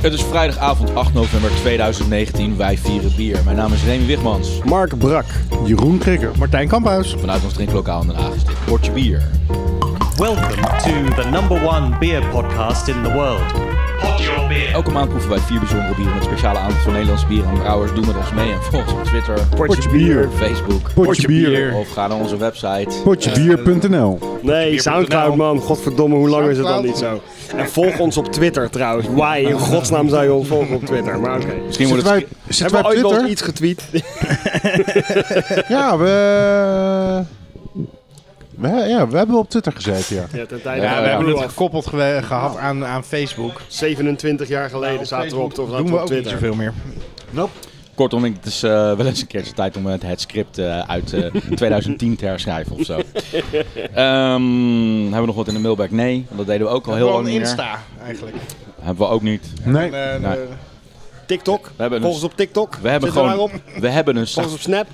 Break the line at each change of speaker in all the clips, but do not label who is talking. Het is vrijdagavond 8 november 2019. Wij vieren bier. Mijn naam is Remy Wigmans.
Mark Brak, Jeroen Krikker, Martijn Kamphuis.
Vanuit ons drinklokaal in Den Haag is dit Portje Bier.
Welcome to the number one beer podcast in the world. Pod your beer.
Elke maand proeven wij vier bijzondere bieren met speciale aandacht voor Nederlandse bieren en brouwers. Doe met ons mee en volg ons op Twitter,
Potje bier.
Facebook,
Potje bier.
of ga naar onze website.
Potjebier.nl.
Nee, Soundcloud man. Godverdomme, hoe lang is het dan niet zo? En volg ons op Twitter trouwens. Why in godsnaam zou je ons volgen op Twitter? Maar oké.
Misschien wordt
Zitten wij,
het...
zitten
Hebben
wij
we
op
ooit wel eens
Twitter?
iets getweet?
Ja, we... We, ja, we hebben op Twitter gezeten, ja.
Ja, ten tijde
Ja,
van
we
de
hebben
Blue
het
Af.
gekoppeld gewe- gehad aan, aan Facebook.
27 jaar geleden
Nou,
zaten we op, toch,
Doen
zaten
we
we op
ook niet
Twitter.
zoveel meer.
Kortom, ik- het is eh, wel eens een keertje tijd om het, het script eh, uit eh, 2010 te herschrijven of zo. Ehm, hebben we nog wat in de mailbag? Nee, want dat deden we ook al heel
Gewoon
lang niet meer.
Insta, eigenlijk.
Hebben we ook niet.
Nee.
En, eh,
Nee.
TikTok.
hebben
Volg ons op Tiktok.
We hebben
Zitten we
gewoon...
daarop?
We hebben een
Volg
site.
ons op Snap.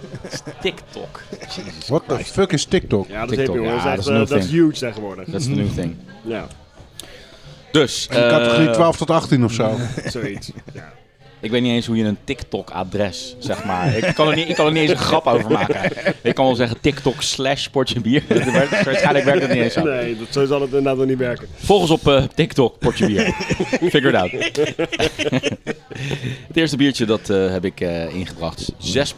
TikTok. Jezus
What the fuck is TikTok?
Ja, dat
TikTok,
is hip, jongen.
ja,
Dat is
dat is
echt,
een
eh, dat is
thing.
huge tegenwoordig.
Dat is de new thing.
Ja,
Dus,
In categorie
eh,
12 tot 18 of zo.
zoiets. Ja.
ik weet niet eens hoe je een TikTok-adres, zeg maar. ik, kan er niet, ik kan er niet eens een grap over maken. Ik kan wel zeggen TikTok slash potje bier. Dat werkt- Waarschijnlijk werkt dat niet eens zo.
Nee, dat, zo zal het inderdaad nog niet werken.
Volg ons op eh, TikTok, potje bier. Figure it out. het eerste biertje dat eh, heb ik eh, ingebracht. is 6%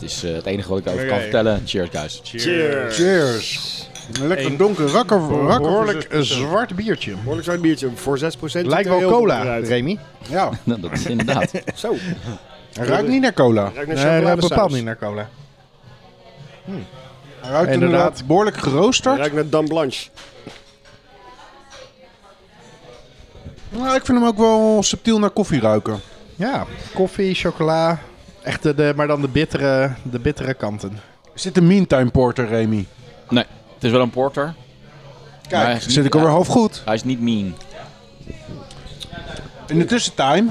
is eh, het enige wat ik daarover kan
Oké.
vertellen. Cheers, guys.
Cheers.
Cheers. Een lekker donker, rakker, rakker
Behoorlijk een zwart biertje.
Behoorlijk zo'n biertje. Voor 6% ziet
Lijkt
er
wel
heel goed
cola,
uit.
Remy.
Ja,
Nou, dat is inderdaad.
Zo.
hij ruikt niet naar cola.
Ruikt naar
Nee, dat
chocoladesaus.
bepaalt niet naar cola.
Hij ruikt
Inderdaad.
inderdaad behoorlijk geroosterd.
Ruikt naar Dan Blanche.
Nou, ik vind hem ook wel subtiel naar koffie ruiken.
Ja, koffie, chocola. Echt de, de- maar dan de bittere, de bittere kanten.
Is dit een meantime porter, Remy?
Nee, het is wel een porter. Maar hij
Kijk,
is niet-
zit ik alweer half goed.
Hij is niet mean.
In de tussentime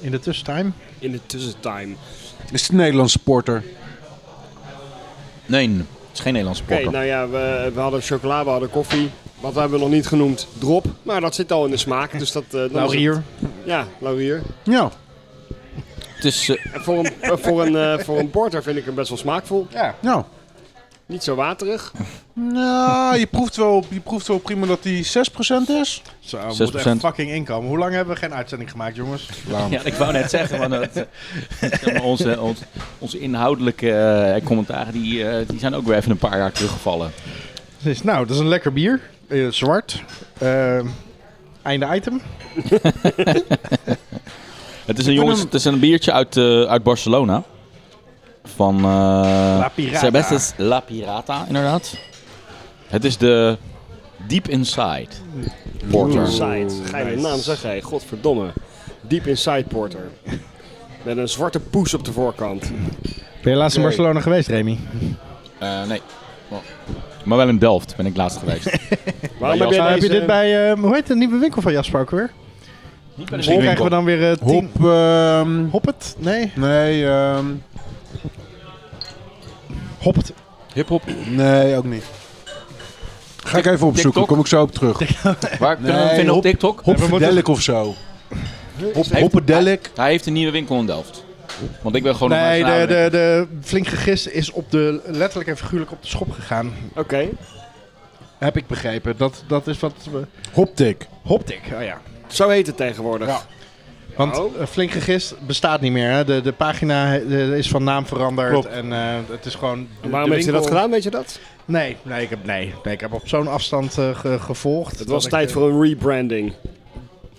In de tussentime.
In de tussentime.
is het een Nederlandse porter.
Nee, het is geen Nederlandse
Oké,
porter.
nou ja, we, we hadden chocola, we hadden koffie. Wat hebben we nog niet genoemd? Drop. Maar dat zit al in de smaak. Dus dat, eh, dan is
Nou,
het-
Laurier.
Ja, laurier.
Ja,
Het is... eh,
En voor een, eh, voor, een, eh, voor een porter vind ik hem best wel smaakvol.
Ja.
ja.
Niet zo waterig.
Nou, je proeft wel, je proeft wel prima dat die 6% is.
Zo, we
6%.
moeten echt fucking inkomen. Hoe lang hebben we geen uitzending gemaakt, jongens?
Ja, ik wou net zeggen, want het, zeg maar, onze, ons- onze inhoudelijke eh, commentaren die, eh, die zijn ook weer even een paar jaar teruggevallen.
Dus, nou, dat is een lekker bier. Eh, zwart. Eh, einde item.
Het is een, jongens, het is een biertje uit, eh, uit Barcelona. Van eh La
Pirata.
Cervezas La Pirata, inderdaad. Het is de Deep Inside Porter.
Inside. Geile naam zeg jij. Godverdomme. Deep Inside Porter. Met een zwarte poes op de voorkant.
Ben je laatst in Barcelona geweest, Remy?
Eh, nee. Maar wel in Delft ben ik laatst geweest.
Waarom
Jasper,
heb jij
heb je
deze...
dit bij, eh, hoe heet de nieuwe winkel van Jasper ook weer?
Niet bij de
Misschien krijgen we dan weer eh tien...
Hop, ehm
Hoppet? Nee.
nee, ehm
Hoppet.
Hip-hop.
nee, ook niet. Ga ik even opzoeken,
TikTok?
kom ik zo op terug.
Waar kunnen we hem
Nee,
vinden op
hop-
TikTok?
Hopfidelic of zo. Hop,
Heeft-
hoppedelic.
Hij heeft een nieuwe winkel in Delft. Want ik ben gewoon
Nee,
nog maar
de,
eens
de, de flink gegist is op de, letterlijk en figuurlijk op de schop gegaan.
Oké.
Heb ik begrepen. Dat, dat is wat... we-
Hoptik.
Hoptik, oh ja.
Zo heet het tegenwoordig.
Ja. Want
Oh.
eh, flink gegist bestaat niet meer. Hè? De, de pagina eh, de- is van naam veranderd.
Klopt.
En eh, het is gewoon... de-
En waarom
de
heeft hij dat
winkel-
gedaan, weet je dat?
Nee, nee, ik heb, nee, nee, ik heb op zo'n afstand eh, ge- gevolgd.
Het was
dat
tijd
ik,
voor een rebranding.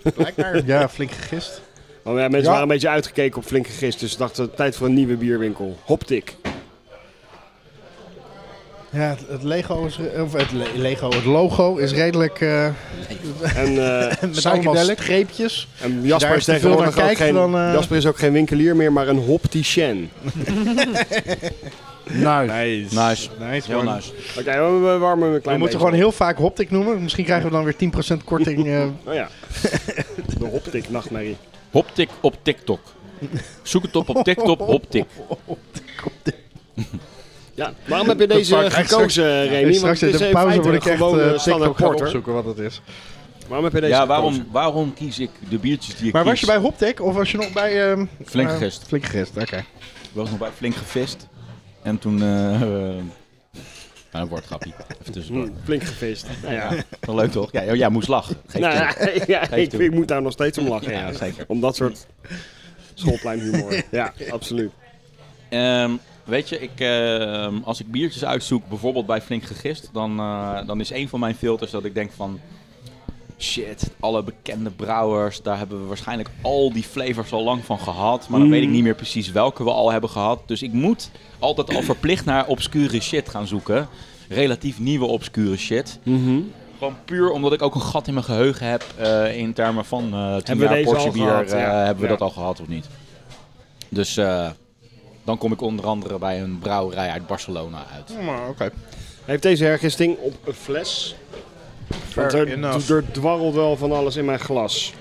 eh, blijkbaar. ja, flink gegist.
Want ja, mensen
Ja.
waren een beetje uitgekeken op flinke gist. Dus ze dachten, tijd voor een nieuwe bierwinkel. Hoptik.
Ja, het, het Lego is... re- Of het le- Lego, het logo is redelijk... eh,
En, eh,
met allemaal
Psychedelic.
streepjes.
en Jasper, is
Daar is te veel
tegenwoordig
naar
ook
kijkt
geen,
dan, eh.
Jasper is ook geen winkelier meer, maar een hopticien.
Nice.
Nice.
Nice.
Nice,
Heel
man.
nice.
Oké, we- we warmen een klein
We moeten gewoon heel vaak Hoptic noemen. Misschien krijgen we dan weer 10% korting. eh.
heel... Oh ja. De hoptik nachtmerrie.
Hoptik op TikTok. Zoek het op op TikTok, Hoptik.
Ja, waarom heb je deze
fuck, echt
gekozen, Remy?
straks
het
in
is
de
even
pauze
uit
word ik echt
gewone
eh TikTok
standaard
gaan
porter.
opzoeken wat het is.
Waarom heb je deze
Ja,
gekozen?
waarom, waarom kies ik de biertjes die ik
Maar was
kies?
je bij Hoptech of was je nog bij... ehm
Flink
eh,
gegist.
flink gegist, oké.
Ik was nog bij flink gevist. En toen... eh eh, nou, een woordgrapje. Even tussendoor.
Hm, flink gevist. Nou ja.
Wel leuk toch? Ja, jij moest lachen. Geef
Nou,
toe.
ja, ja, ik,
toe.
ik moet daar nog steeds om lachen.
Ja, zeker.
Om dat soort schoolpleinhumor. ja, absoluut.
Ehm, weet je, ik, ehm, als ik biertjes uitzoek, bijvoorbeeld bij Flink Gegist, dan, eh, dan is een van mijn filters dat ik denk van... Shit, alle bekende brouwers, daar hebben we waarschijnlijk al die flavors al lang van gehad.
Mm.
Maar dan weet ik niet meer precies welke we al hebben gehad. Dus ik moet altijd al verplicht naar obscure shit gaan zoeken. Relatief nieuwe obscure shit.
Mhm.
Gewoon puur omdat ik ook een gat in mijn geheugen heb eh, in termen van eh tien
we
jaar
deze
Porsche
al
bier.
gehad?
eh,
Ja.
Hebben we
Ja.
dat al gehad of niet? Dus eh, dan kom ik onder andere bij een brouwerij uit Barcelona uit.
Maar oké.
Heeft deze hergisting op een fles? Want
Fair
er,
enough.
er dwarrelt wel van alles in mijn glas.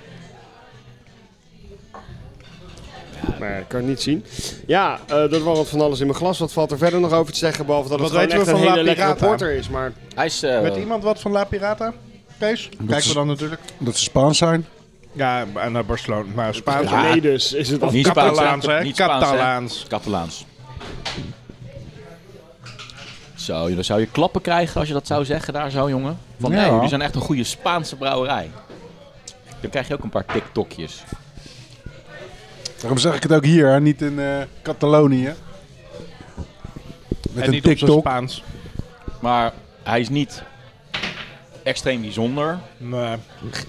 Maar ik kan het niet zien. Ja, eh, er dwarrelt van alles in mijn glas. Wat valt er verder nog over te zeggen? Behalve dat
Wat
het gewoon
weten we
echt een
van
hele
La
lekkere
Pirata?
porter is. Maar
Hij is, eh,
Met iemand wat van La Pirata? Kees? Kijken we dan natuurlijk.
Dat ze Spaans zijn.
Ja, naar Barcelona. Maar Spaans.
Ja.
nee dus, is het
niet Spaans,
Catalaans, hè?
Niet Spaans, hè?
Catalaans.
Catalaans. Zo, jullie zou je klappen krijgen als je dat zou zeggen daar zo, jongen. Van
Ja.
nee, jullie zijn echt een goede Spaanse brouwerij. Dan krijg je ook een paar TikTokjes.
Daarom zeg ik het ook hier, hè, niet in eh, Catalonië. Met
En
een
niet op zijn
TikTok.
Spaans.
Maar hij is niet extreem bijzonder.
Nee.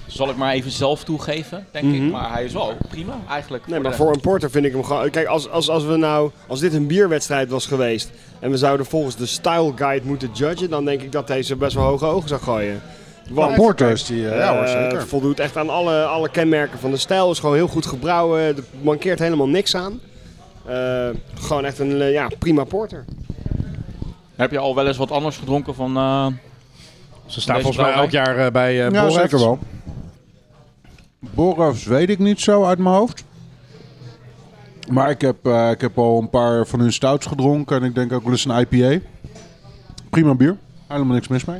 Zal ik maar even zelf toegeven, denk ik. Maar hij is wel prima, eigenlijk.
Nee, maar
de-
voor een porter vind ik hem gewoon... Kijk, als, als, als, we nou, als dit een bierwedstrijd was geweest... en we zouden volgens de style guide moeten judgen... dan denk ik dat deze best wel hoge ogen zou gooien.
Van
Want,
Porto's die. eh, ja hoor,
eh,
zeker.
voldoet echt aan alle, alle kenmerken van de stijl. Is gewoon heel goed gebrouwen. Er mankeert helemaal niks aan. Eh, gewoon echt een eh, ja, prima porter.
Heb je al wel eens wat anders gedronken van... eh,
Ze staan
Deze
volgens mij elk
brouwerij?
jaar eh, bij
Ja,
eh Borrefs.
zeker wel. Borrefs weet ik niet zo uit mijn hoofd. Maar ik heb, eh, ik heb al een paar van hun stouts gedronken. En ik denk ook wel eens een IPA. Prima bier. Helemaal niks mis mee.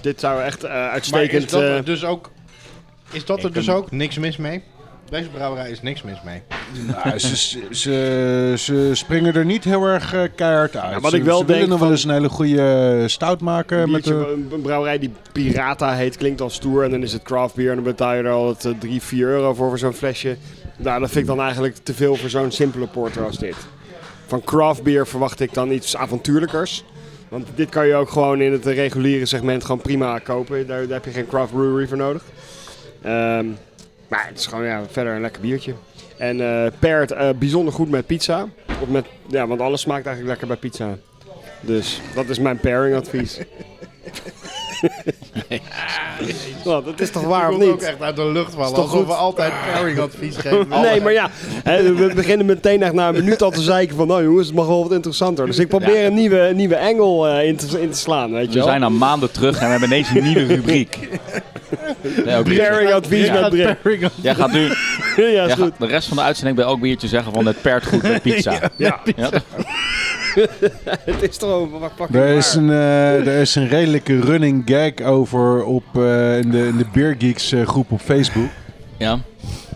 Dit zou echt eh,
Maar is
uitstekend...
dat
eh,
er dus ook... Is dat er
ik
dus
kan-
ook niks mis mee? Deze brouwerij is niks mis mee.
Nou, ze, ze, ze, ze springen er niet heel erg eh, keihard uit.
Ja, wat
Ze-
ik wel
ze willen
denk
nog wel
van-
eens een hele goede eh, stout maken. Met
biertje,
de,
een, een brouwerij die Pirata heet, klinkt dan stoer. En dan is het craft beer en dan betaal je er al 3, 4 euro voor, voor zo'n flesje. Nou, dat vind ik dan eigenlijk te veel voor zo'n simpele porter als dit. Van craft beer verwacht ik dan iets avontuurlijkers. Want dit kan je ook gewoon in het eh, reguliere segment gewoon prima kopen. Daar, daar heb je geen craft brewery voor nodig. Ehm, maar het is gewoon ja, verder een lekker biertje. En eh paired eh, bijzonder goed met pizza. Of met, ja, want alles smaakt eigenlijk lekker bij pizza. Dus dat is mijn pairing advies. Nou, dat is toch waar of
Ik wil ook
niet?
echt uit de lucht vallen.
toch
Alsof
goed?
we altijd pairing advies geven.
Nee, maar ja, hè, we beginnen meteen echt na een minuut al te zeiken van, nou jongens, het mag wel wat interessanter. Dus ik probeer een nieuwe, een nieuwe engel eh, in, te, in te slaan, weet je
We
wel.
zijn al maanden terug en we hebben ineens een nieuwe rubriek. Nee, ook niet.
Pairing advies met Brit.
pairing advies.
Jij gaat nu
Ja, is
jij
goed.
gaat de rest van de uitzending bij elk biertje zeggen van het pert goed met pizza.
Ja,
Ja,
het is toch wel wat pakken.
Er is, een, eh, er is een redelijke running gag over op, eh, in de, in de Beer Geeks eh, groep op Facebook.
ja.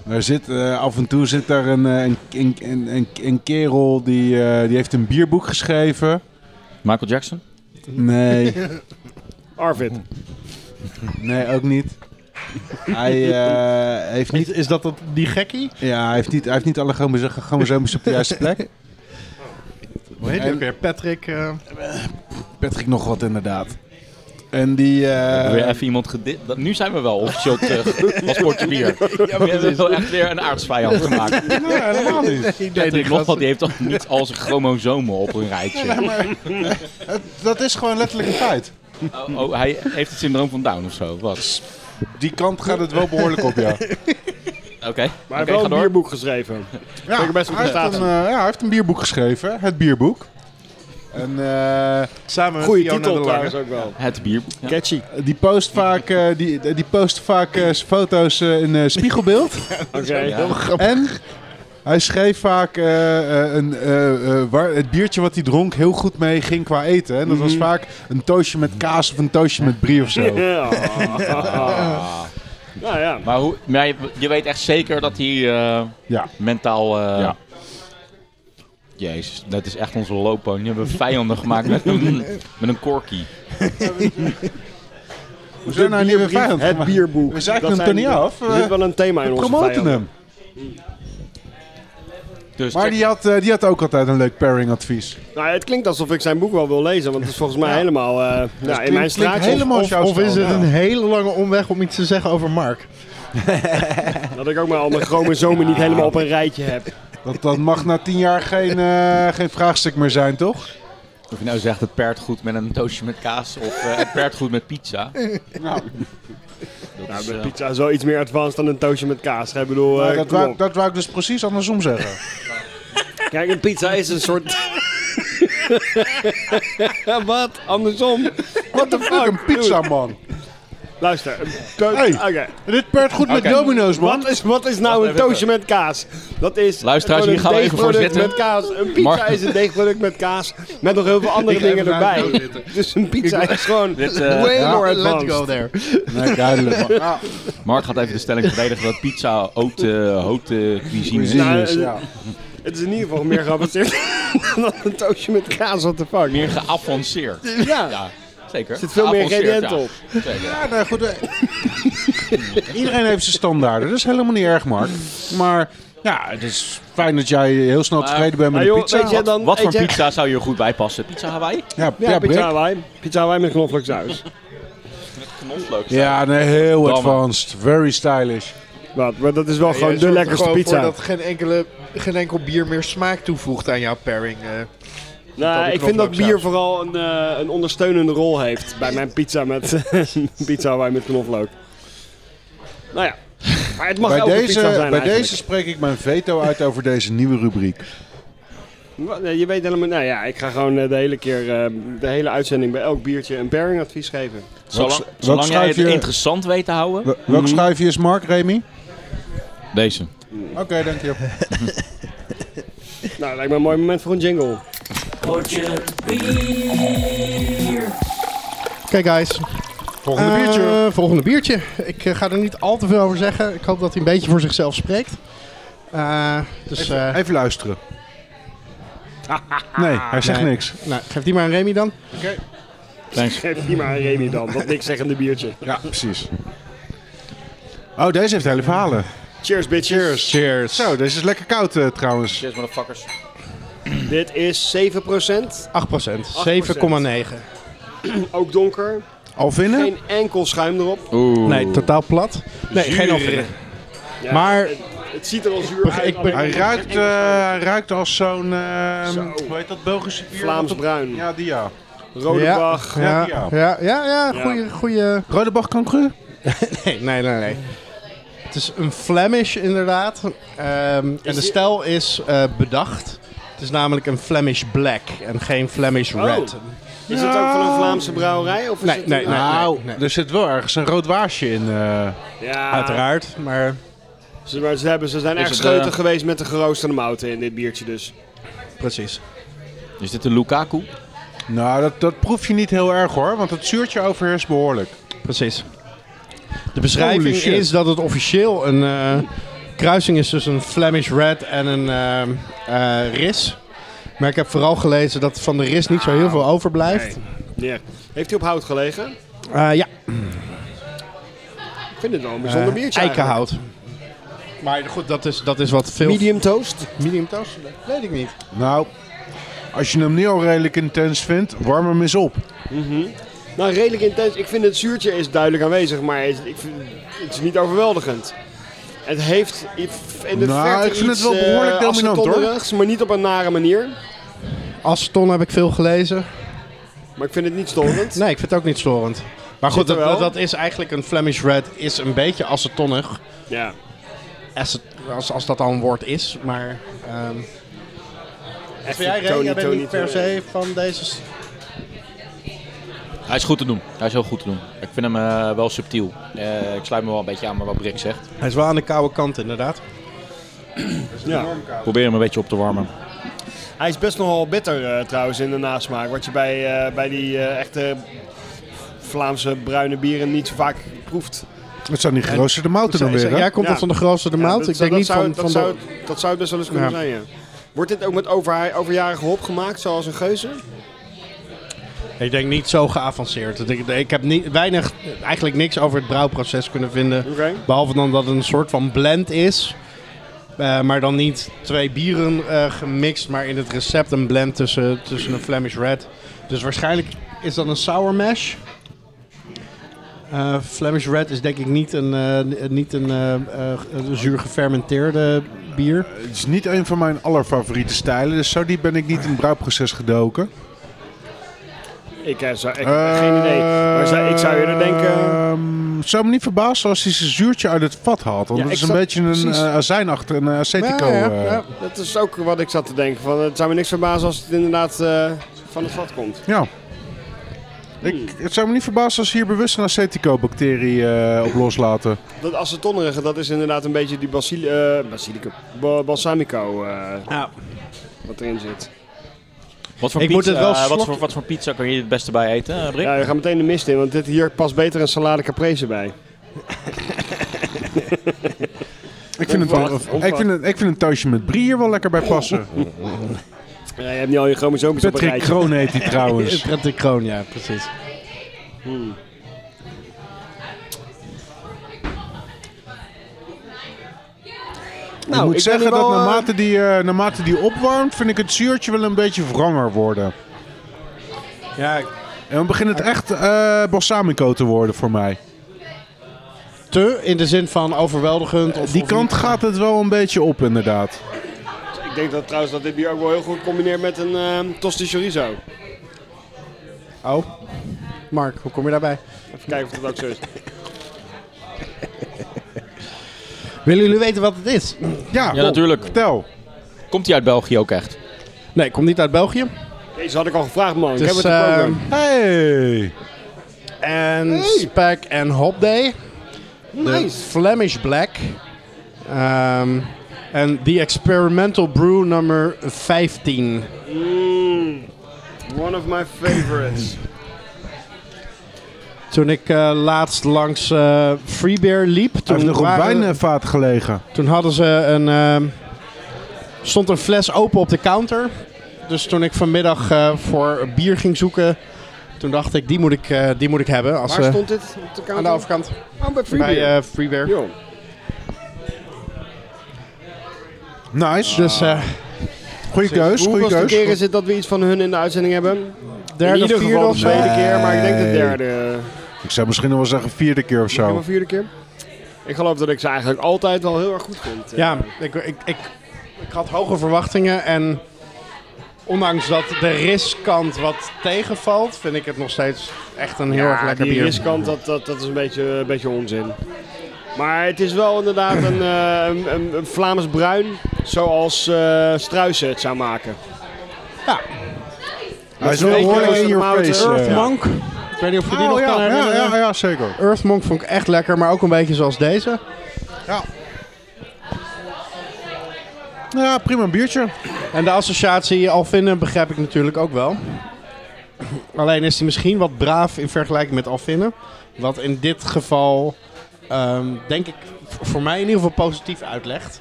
Daar zit, eh, af en toe zit daar een, eh, een, een, een, een, een kerel die, eh, die heeft een bierboek geschreven.
Michael Jackson?
Nee,
Arvid.
nee ook niet. Hij, eh, heeft,
Is,
niet,
is dat, dat die gekkie?
ja, hij, heeft niet, hij heeft niet alle chromoso- chromosomes op de juiste plek.
Hoe heet die ook weer? Patrick... eh,
Patrick nog wat inderdaad. En die... eh,
weer even iemand gedit. dat- Nu zijn we wel officieel terug als korte bier. we hebben wel echt weer een aardsvijand gemaakt.
nee, helemaal niet.
Patrick Nogveld die heeft toch niet al zijn chromosomen op een rijtje.
Dat is gewoon letterlijk een feit.
Oh, oh, hij heeft het syndroom van Down of zo. Wat?
Die kant gaat het wel behoorlijk op, ja.
Oké.
Maar
Oké,
hij heeft
ga
wel
door.
een bierboek geschreven.
Ja,
Vind ik best een
hij, heeft een,
prestatie.
eh, ja, hij heeft een bierboek geschreven, het bierboek. En eh,
Samen met
Goeie
Fiona
titel
de Lange.
trouwens ook wel.
Het bier. Ja.
Catchy.
die post vaak, eh, die, die post vaak eh, zijn foto's eh, in eh, spiegelbeeld.
Oké.
Ja.
en Hij schreef vaak eh, eh, een, eh, eh, waar het biertje wat hij dronk heel goed mee ging qua eten. En dat was
Mhm.
vaak een toastje met kaas of een toastje met brie of zo.
Ja. nou ja.
Maar, hoe, maar je, je weet echt zeker dat hij eh,
Ja.
mentaal... eh,
Ja.
Jezus, dat is echt onze loopbaan. Nu hebben we vijanden gemaakt met een, met een korkie.
We zijn nou niet meer
Bierbrief,
vijand
het
gemaakt.
bierboek.
We zeiken
Dat
hem
zijn-
toch niet af?
Er zit wel een thema in
We
onze
promoten
vijanden.
hem.
Dus
Maar
check-
die had, eh, die had ook altijd een leuk pairing advies.
Nou, het klinkt alsof ik zijn boek wel wil lezen, want het is volgens mij helemaal eh, nou, in mijn
klinkt
straatje.
helemaal
Of,
jouw
of is
stijl,
het een hele lange omweg om iets te zeggen over Mark?
Dat ik ook maar al mijn chromosomen niet helemaal op een rijtje heb.
Dat, dat mag na tien jaar geen, eh, geen vraagstuk meer zijn, toch?
Of je nou zegt het pert goed met een doosje met kaas of eh het pert goed met pizza.
Nou,
Dat
Nou,
is,
de
eh,
pizza is wel iets meer advanced dan een toastje met kaas. Ik bedoel,
maar
eh,
dat,
kom
wou,
op.
dat wou ik dus precies andersom zeggen.
Kijk, een pizza is een soort... Wat? Andersom? What the fuck?
Een pizza, man.
Luister, een to-
Hey.
oké.
Dit pert goed
Oké.
met domino's, man.
Wat is, wat is nou
Wacht
een
even.
toastje met kaas? Dat is
Luisteraars,
gewoon
hier gaan
een
we even voor
deegproduct
zitten.
met kaas. Een pizza
Mar-
is een deegproduct met kaas. Met nog heel veel andere
Ik ga
dingen
even naar de
erbij. Dus een pizza is gewoon
Dit, eh,
way
Ja,
more
let's
advanced.
go there.
Nee, duidelijk, man.
Mark gaat even de stelling verdedigen dat pizza haute, haute cuisine is.
Nou,
Precies, ja.
Het is in ieder geval meer geavanceerd dan een toastje met kaas. What the fuck?
Meer eh, geavanceerd.
Ja.
Ja, zeker. Er
zit veel meer ingrediënten op.
Ja, nou goed. eh, Iedereen heeft zijn standaarden. Dat is helemaal niet erg, Mark. Maar ja, het is fijn dat jij heel snel tevreden bent met
maar
de
joh,
pizza.
weet je, dan
Wat
eet
voor
je-
pizza zou je er goed bij passen? Pizza Hawaii?
Ja,
Ja,
ja,
pizza
Brik.
Hawaii. Pizza Hawaii met knoflooksaus.
Knoflook.
Ja, nee, heel
Damme.
advanced. Very stylish.
Wat? Maar dat is wel gewoon de lekkerste pizza.
dat geen, enkele, geen enkel bier meer smaak toevoegt aan jouw pairing. eh.
Nou,
die
ik vind dat bier
knoflooksaus.
vooral een, eh, een ondersteunende rol heeft bij mijn pizza met pizza Hawaii met knoflook. Nou ja, maar het mag
Bij
elke
deze,
pizza zijn
bij
eigenlijk.
deze spreek ik mijn veto uit over deze nieuwe rubriek.
Wa- nee, Je weet helemaal, nou ja, ik ga gewoon eh, de hele keer, eh, de hele uitzending bij elk biertje een pairingadvies geven.
Zolang,
Welk- welk
zolang jij het
schuifje-
interessant weet te houden.
Wel- Welk
Mhm.
schuifje is Mark, Remy?
Deze.
Oké, dank je.
Nou, lijkt me een mooi moment voor een jingle.
Kijk, guys.
Volgende
Eh,
biertje.
volgende biertje. Ik eh, ga er niet al te veel over zeggen. Ik hoop dat hij een beetje voor zichzelf spreekt. Eh, dus eh,
Even luisteren. Nee, hij zegt
Nee.
niks.
nou, geef die maar aan Remy dan.
Thanks.
Geef die maar aan Remy dan, dat niks zeggende biertje.
Ja, precies. Oh, deze heeft hele verhalen.
Cheers, bitches.
Cheers. Zo, deze is lekker koud eh, trouwens.
Cheers, motherfuckers.
Dit is 7%,
8%. 7,9.
ook donker,
Al vinden?
geen enkel schuim erop.
Oeh.
Nee, totaal plat. Nee, geen alvin.
Ja,
Maar-
het, het ziet er al zuur
Beg-
uit.
ik ben-
Hij ruikt, eh, hij ruikt als zo'n... eh,
Zo.
Hoe heet dat Belgische bier?
Vlaams bruin,
Ja, die ja.
rode
ja.
bag.
Ja,
Ja,
ja, ja, ja,
Ja.
goeie, goeie...
Rode Bach-kanker?
Nee, nee, nee, nee. Het is een Flemish inderdaad. Ehm, en de
die-
stijl is eh, bedacht. Het is namelijk een Flemish Black en geen Flemish
Oh.
Red.
Is het ook van een Vlaamse brouwerij? Of is
Nou. Nee,
het
nee,
een-
nee.
nou, er zit wel ergens een rood waasje in. eh.
Ja,
Uiteraard, maar...
Ze, maar ze, hebben, ze zijn
Is
erg
het,
scheutig
eh,
geweest met de geroosterde mouten in dit biertje dus.
Precies.
Is dit een Lukaku?
Nou, dat, dat proef je niet heel erg hoor, want het zuurtje overheerst behoorlijk.
Precies. De
Holy
beschrijving
shit.
is dat het officieel een eh, kruising is tussen een Flemish Red en een ehm, eh, Ris. Maar ik heb vooral gelezen dat van de Ris niet zo heel veel overblijft.
Ja. Heeft hij op hout gelegen?
Eh, ja,
Ik vind het wel een
eh,
bijzonder biertje eigenlijk.
eikenhout. Maar goed, dat is, dat is wat veel...
Medium toast?
medium toast? Dat Weet ik niet.
Nou, als je hem niet al redelijk intens vindt, warm hem eens op.
Nou, redelijk intens. Ik vind het zuurtje is duidelijk aanwezig, maar het, ik vind, het is niet overweldigend. Het heeft i- in de
Nou,
verte
ik vind het
iets,
wel
eh,
behoorlijk dominant, hoor.
acetonnerigs, maar niet op een nare manier.
Aston heb ik veel gelezen.
Maar ik vind het niet storend.
Nee, ik vind het ook niet storend. Maar goed,
Zit er
dat,
wel?
dat, dat is eigenlijk een Flemish Red, is een beetje acetonnig.
Ja.
Acet- als, als dat al een woord is, maar... ehm,
Echt
Vind jij, Ray?
Tony,
jij bent
Tony,
niet per
Tony.
se van deze... s-
Hij is goed te doen. Hij is heel goed te doen. Ik vind hem eh, wel subtiel. Eh, ik sluit me wel een beetje aan bij wat Brik zegt.
Hij is wel aan de koude kant, inderdaad.
Er
Ja.
Probeer hem een beetje op te warmen.
Hij is best nogal bitter eh, trouwens in de nasmaak. Wat je bij, eh, bij die eh, echte Vlaamse bruine bieren niet zo vaak proeft.
Het zijn die geroosterde mouten dan
Zij-
weer,
zij-
hè?
Jij komt
Ja.
dan van de grootste de
Ja,
maand.
dat
ik
zou-
denk
dat
niet
zou,
van,
dat
van
zou,
de...
dat zou het best wel eens kunnen
Ja.
zijn, ja. Wordt dit ook met over, overjarige hop gemaakt, zoals een geuze?
Ik denk niet zo geavanceerd. Ik, ik heb niet, weinig, eigenlijk niks over het brouwproces kunnen vinden.
Oké.
Behalve dan dat het een soort van blend is. Eh, maar dan niet twee bieren eh, gemixt, maar in het recept een blend tussen, tussen een Flemish Red. Dus waarschijnlijk is dat een sour mash. Eh, Flemish Red is denk ik niet een, eh, niet een eh, eh, een zuur gefermenteerde bier.
Het is niet een van mijn allerfavoriete stijlen, dus zo diep ben ik niet in het brouwproces gedoken.
Ik, eh, zou, ik geen idee. Maar zou- ik zou eerder denken...
Ehm, het zou me niet verbazen als hij zijn zuurtje uit het vat haalt. Want
Ja,
dat is
ik
een
zou-
beetje een
precies.
eh, azijn achter een eh, acetico.
Ja, ja,
eh.
ja.
Dat is ook wat ik zat te denken. Van, het zou me niks verbazen als het inderdaad eh, van het vat komt.
Ja. Ik, het zou me niet verbazen als ze hier bewust een acetico-bacterie eh, op loslaten.
Dat acetonnerige, dat is inderdaad een beetje die basili eh, basilicum, ba- balsamico eh,
Ja.
wat erin zit.
Wat voor,
Ik
pizza,
moet het wel
eh, wat,
slokken.
voor, wat voor pizza kan je het beste bij eten, eh, Brik?
Ja, we gaan meteen de mist in, want dit hier past beter een salade caprese bij.
Ik vind, het wel,
Onverwacht, onverwacht.
ik, vind het, ik vind een thuisje met brie hier wel lekker bij passen.
Ja, je hebt niet al je chromosomen op een
Patrick
rijtje.
Kroon heet die trouwens.
Prettig kroon, ja, precies.
ik moet
ik ben
zeggen
hier
dat
wel, eh,
naarmate die, eh, naarmate die opwarmt, vind ik het zuurtje wel een beetje wranger worden.
Ja,
En dan begint het echt eh, balsamico te worden voor mij.
te in de zin van overweldigend. Of,
Die
of
kant
niet.
gaat het wel een beetje op inderdaad.
Ik denk dat trouwens dat dit bier ook wel heel goed combineert met een ehm tosti chorizo.
Oh, Mark, hoe kom je daarbij?
Even kijken of dat ook zo is.
Willen jullie weten wat het is?
Ja,
Ja, natuurlijk.
Vertel.
Komt die uit België ook echt?
Nee, komt niet uit België.
Deze had ik al gevraagd man, ik heb
Dus,
het op
ehm,
program.
Hey.
En Spec en Hop Day. De Flemish Black. Ehm, en die Experimental Brew nummer 15.
Mm,
ehm,
one of my favorites.
Toen ik eh, laatst langs eh Free Beer liep.
Toen
Toen,
heeft nog een
waren-
wijnvaat gelegen.
toen hadden ze een. ehm, stond een fles open op de counter. Dus toen ik vanmiddag eh, voor bier ging zoeken. Toen dacht ik, die moet ik, eh, die moet ik hebben. Als,
Waar
eh,
stond dit op de counter?
aan de overkant.
Oh, bij Freebie.
Bij eh Freeware.
Joh.
Nice. Ah.
Dus eh
Goeie keus, goeie
Hoeveelste keer
keus.
is het dat we iets van hun in de uitzending hebben?
derde,
in ieder
vierde
geval dus-
of
de
zo.
tweede keer, maar ik denk de
Nee.
derde.
Ik zou misschien nog wel zeggen vierde keer of
Helemaal
zo.
vierde keer. Ik geloof dat ik ze eigenlijk altijd wel heel erg goed vind. Eh,
Ja, ik, ik, ik, ik had hoge verwachtingen en ondanks dat de riskant wat tegenvalt, vind ik het nog steeds echt een heel
Ja,
erg lekker
die
bier.
riskant, dat, dat, dat is een beetje, een beetje onzin. Maar het is wel inderdaad een, eh, een, een, een Vlaams bruin, zoals eh Struisen het zou maken.
Hij is
Met
wel
twee
behoorlijk
keer
in your
mouten.
face. eh.
Earthmonk, ik weet niet of je die
Oh,
nog kan
ja, ja,
herinneren.
ja, ja, zeker.
Earthmonk vond ik echt lekker, maar ook een beetje zoals deze.
Nou Ja, prima biertje.
En de associatie Alvinnen begrijp ik natuurlijk ook wel. Alleen is hij misschien wat braaf in vergelijking met Alvinnen. Wat in dit geval, ehm, denk ik, v- voor mij in ieder geval positief uitlegt.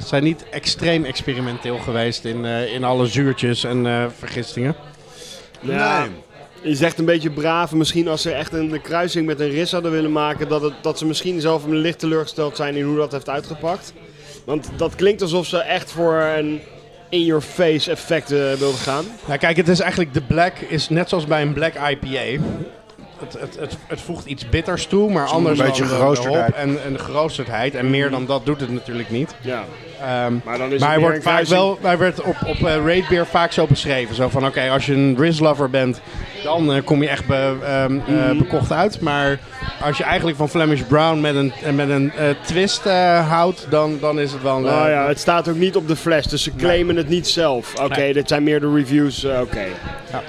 Ze zijn niet extreem experimenteel geweest in, eh, in alle zuurtjes en eh, vergistingen.
Ja, Je zegt een beetje braaf, misschien als ze echt een kruising met een ris hadden willen maken, dat, het, dat ze misschien zelf een licht teleurgesteld zijn in hoe dat heeft uitgepakt. Want dat klinkt alsof ze echt voor een in-your-face effect eh, wilden gaan.
Nou kijk, het is eigenlijk de black, is net zoals bij een black IPA. Het, het, het, het voegt iets bitters toe, maar anders
beetje
dan eh, de- de
geroosterdheid.
hop en, en de geroosterdheid. En meer dan dat doet het natuurlijk niet.
Ja,
Ehm,
maar dan Dus is het
Maar hij,
meer
wordt
een
vaak
kruising.
wel, hij werd op, op eh, Raid Beer vaak zo beschreven. Zo van, oké, als je een Riz lover bent, dan eh, kom je echt be- ehm, eh,
Mhm.
bekocht uit. Maar als je eigenlijk van Flemish Brown met een, eh, met een eh, twist eh, houdt, dan, dan is het wel... eh,
Nou ja, het staat ook niet op de fles, dus ze claimen het niet zelf. Oké, dit zijn meer de reviews, eh, oké.
Ja.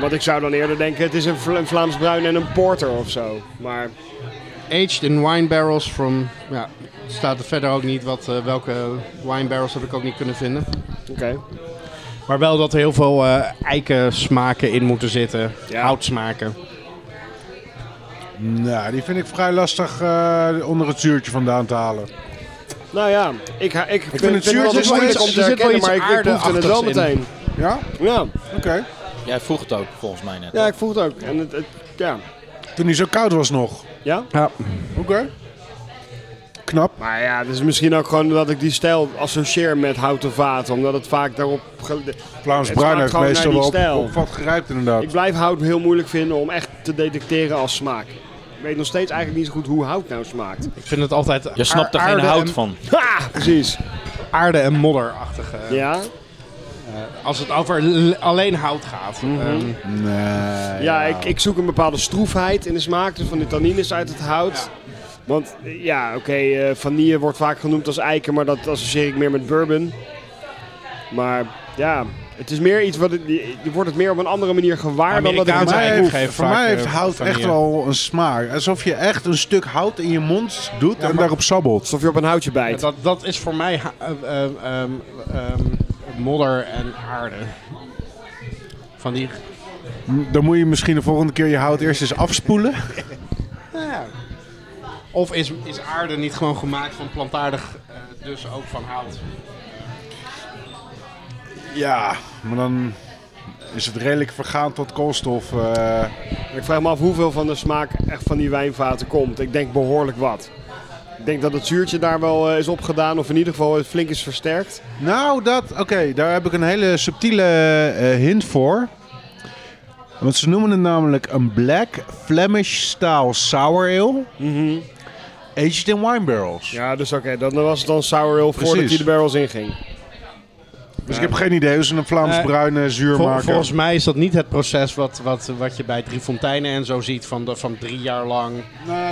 Want ik zou dan eerder denken, het is een, Vla- een Vlaams bruin en een porter of zo. Maar
aged in wine barrels from... Ja, staat er verder ook niet wat, eh, welke wine barrels heb ik ook niet kunnen vinden.
Oké.
Maar wel dat er heel veel eh eiken smaken in moeten zitten.
Ja.
Houtsmaken.
Nou, die vind ik vrij lastig eh, onder het zuurtje vandaan te halen.
Nou ja, ik, ha- ik, ik
vind het zuur, er
altijd
zit wel
moeilijk
iets-
om te
er zit wel
herkennen,
iets
maar ik- ik proefde het wel
aardeachtigs in.
meteen.
Ja?
Ja,
Oké.
Jij vroeg het ook, volgens mij net.
ja, ik voel het ook. En het, het- ja.
Toen hij zo koud was nog.
ja?
Ja.
Oké. Knap.
Maar ja, het is misschien ook gewoon dat ik die stijl associeer met houten vaten. Omdat het vaak daarop... ge-
Vlaams
Het
Bruin
smaakt
heeft
gewoon
meestal
naar
wel
die
op,
stijl.
op wat gerijpt inderdaad.
Ik blijf hout heel moeilijk vinden om echt te detecteren als smaak. Ik weet nog steeds eigenlijk niet zo goed hoe hout nou smaakt.
Ik vind het altijd
Je snapt er geen
aarde
hout
en- Ah!
van.
Ha! Precies.
aarde- en modderachtige.
Ja?
Als het over l- alleen hout gaat.
Mhm.
Ehm,
Nee.
Ja, ik, ik zoek een bepaalde stroefheid in de smaak, dus van de tannines uit het hout. Want eh, ja, oké, eh, vanille wordt vaak genoemd als eiken, maar dat associeer ik meer met bourbon. Maar ja, het is meer iets wat het, je- je wordt het meer op een andere manier gewaar dan dat ik
Amerikaanse
Voor mij
eigen
heeft,
geven
voor
vaak,
mij heeft
eh,
hout
vanille.
echt wel een smaak. Alsof je echt een stuk hout in je mond doet en daarop sabbelt.
Alsof je op een houtje bijt.
dat, dat is voor mij ha- eh, ehm, ehm, ehm, modder en aarde. Van die.
Dan moet je misschien de volgende keer je hout eerst eens afspoelen.
nou Ja. Of is, is aarde niet gewoon gemaakt van plantaardig, eh, dus ook van hout?
Ja, maar dan is het redelijk vergaan tot koolstof. eh.
Ik vraag me af hoeveel van de smaak echt van die wijnvaten komt. Ik denk behoorlijk wat. Ik denk dat het zuurtje daar wel eh, is opgedaan, of in ieder geval eh, flink is versterkt.
Nou, dat, oké, daar heb ik een hele subtiele eh, hint voor. Want ze noemen het namelijk een black Flemish style sour ale.
Mhm.
Aged in wine barrels.
Ja, dus oké, dan was het dan sour ale voordat
Precies.
hij de barrels inging.
Dus ik heb geen idee hoe ze een Vlaams
Eh,
bruine zuur
Vol-
maken.
volgens mij is dat niet het proces wat, wat, wat je bij Driefonteinen en zo ziet van, de, van drie jaar lang.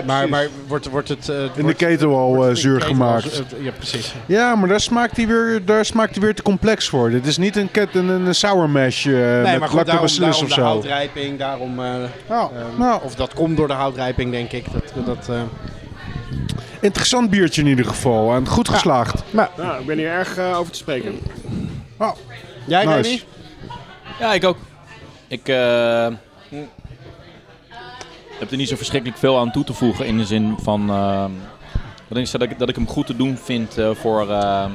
Maar, maar wordt, wordt het... eh,
in de
wordt-
ketel al
wordt
eh,
het in
zuur
de ketel
gemaakt.
als- eh, ja, precies.
ja, maar daar smaakt, hij weer, daar smaakt hij weer te complex voor. Dit is niet een, ket, een, een sour mash eh
Nee, maar
met
goed, daarom,
lactobacillus
daarom
of
de
zo.
houtrijping, daarom... eh,
Nou,
ehm,
nou,
Of dat komt door de houtrijping, denk ik. Dat, dat, eh,
interessant biertje in ieder geval. En goed geslaagd.
Nou, ik ben hier erg eh, over te spreken.
Jij,
Nice.
Danny?
Ja, ik ook. Ik eh, heb er niet zo verschrikkelijk veel aan toe te voegen in de zin van...
eh,
ehm, wat ik zei, dat ik, dat ik hem goed te doen vind eh, voor... ehm,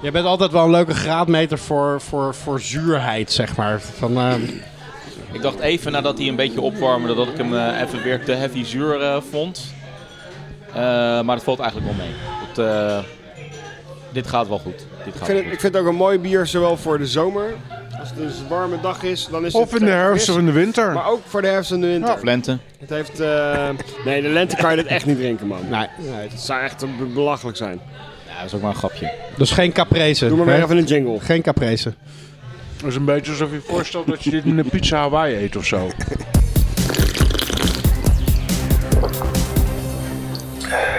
Jij bent altijd wel een leuke graadmeter voor, voor, voor zuurheid, zeg maar. Van, eh,
Ik dacht even nadat hij een beetje opwarmde dat ik hem eh, even weer te heavy zuur eh, vond. Eh, maar dat valt eigenlijk wel mee. Het, eh, dit gaat wel goed. Dit
Ik
gaat
vind,
wel
het,
goed.
ik vind het ook een mooi bier, zowel voor de zomer, als het dus een warme dag is, dan is
Of
het
in de
eh,
herfst
fris,
of in de winter.
Maar ook voor de herfst en de winter.
Of lente.
Het heeft, eh, nee, de lente kan je dit echt niet drinken, man.
nee, nee.
Het zou echt eh, be- belachelijk zijn.
Ja, dat is ook maar een grapje.
Dus geen caprese.
Doe maar weer
hè?
even een jingle.
Geen caprese.
Het is een beetje alsof je voorstelt dat je dit met een pizza Hawaii eet of zo.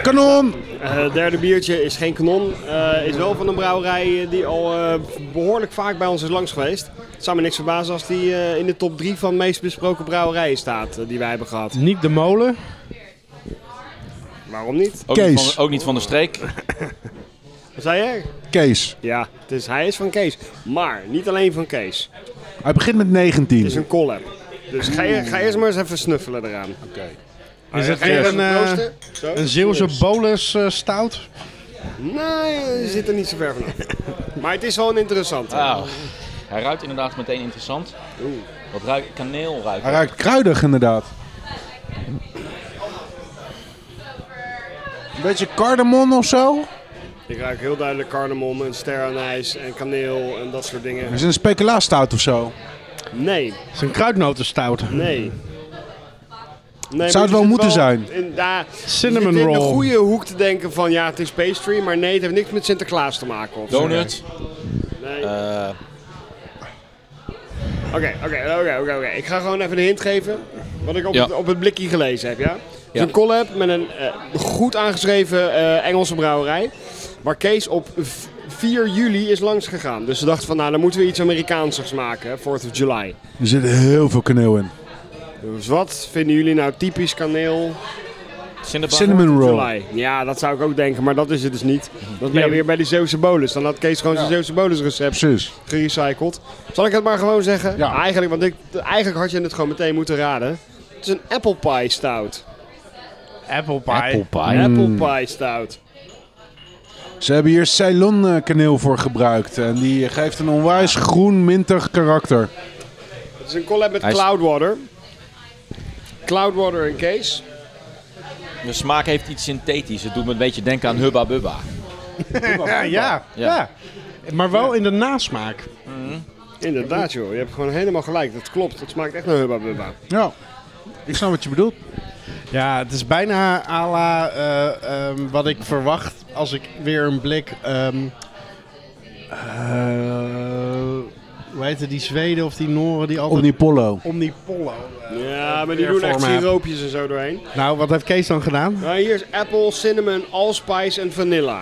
Kanon!
Eh, Het derde biertje is geen kanon. eh, is wel van een brouwerij eh, die al eh, behoorlijk vaak bij ons is langs geweest. Het zou me niks verbazen als die eh, in de top 3 van de meest besproken brouwerijen staat eh, die wij hebben gehad.
Niet de molen.
Waarom niet?
Ook,
Kees.
Niet, van, ook niet van de streek.
Wat zei je?
Kees.
Ja, het is, hij is van Kees. Maar niet alleen van Kees.
Hij begint met 19.
Het is een collab. Dus ga, je, ga eerst maar eens even snuffelen eraan. Oké.
Is het weer een, eh, Een Zeeuwse bolus eh, stout.
Nee, je zit er niet zo ver vanaf. maar het is wel een interessante.
Ah, hij ruikt inderdaad meteen interessant. Wat ruikt kaneel ruikt.
Hij ruikt kruidig inderdaad. Een beetje cardamon of zo.
Ik ruik heel duidelijk cardamom en sterrenijs en kaneel en dat soort dingen.
Is het een speculaarstout of zo?
Nee,
Het is een kruidnotenstout.
nee. Nee,
Hmm. Zou het wel moeten zijn?
In, ja,
Cinnamon
je zit in
roll.
de goede hoek te denken van ja, het is pastry, maar nee, het heeft niks met Sinterklaas te maken. Of zo.
Donut.
Nee.
Eh,
Oké, oké, oké, oké, oké. Ik ga gewoon even een hint geven. Wat ik op,
Ja.
het, op het blikje gelezen heb, ja? Het is
Ja.
een collab met een eh, goed aangeschreven eh, Engelse brouwerij. Waar Kees op v- 4 juli is langsgegaan. Dus ze dachten van, nou, dan moeten we iets Amerikaansers maken, hè, 4th of July.
Er zit heel veel kaneel in.
Dus wat vinden jullie nou typisch kaneel?
Cinnabon.
Cinnamon roll.
July. Ja, dat zou ik ook denken, maar dat is het dus niet. Dat ben je weer bij die Zeeuwse bolus. Dan had Kees gewoon zijn Zeeuwse bolus recept
Precies.
gerecycled. Zal ik het maar gewoon zeggen?
Ja.
Eigenlijk, want ik, eigenlijk had je het gewoon meteen moeten raden. Het is een apple pie stout.
Apple pie.
Apple pie. Hmm.
Apple pie stout.
Ze hebben hier Ceylon eh, kaneel voor gebruikt. En die geeft een onwijs groen mintig karakter.
Het is een collab met
Hij is-
Cloudwater. Cloudwater en Kees.
De smaak heeft iets synthetisch. Het doet me een beetje denken aan Hubba Bubba.
Ja, ja, ja. Maar wel in de nasmaak.
Inderdaad joh, je hebt gewoon helemaal gelijk. Dat klopt, het smaakt echt naar Hubba Bubba.
Ja. Ik snap wat je bedoelt.
Ja, het is bijna à la eh, ehm, wat ik verwacht als ik weer een blik... ehm, eh, hoe heette die Zweden of die Noren die altijd...
Op die Pollo.
Omnipollo. eh.
Ja, maar die
Weer
doen echt
voor me.
siroopjes en zo doorheen.
Nou, wat heeft Kees dan gedaan?
Nou, hier is apple, cinnamon, allspice en vanilla.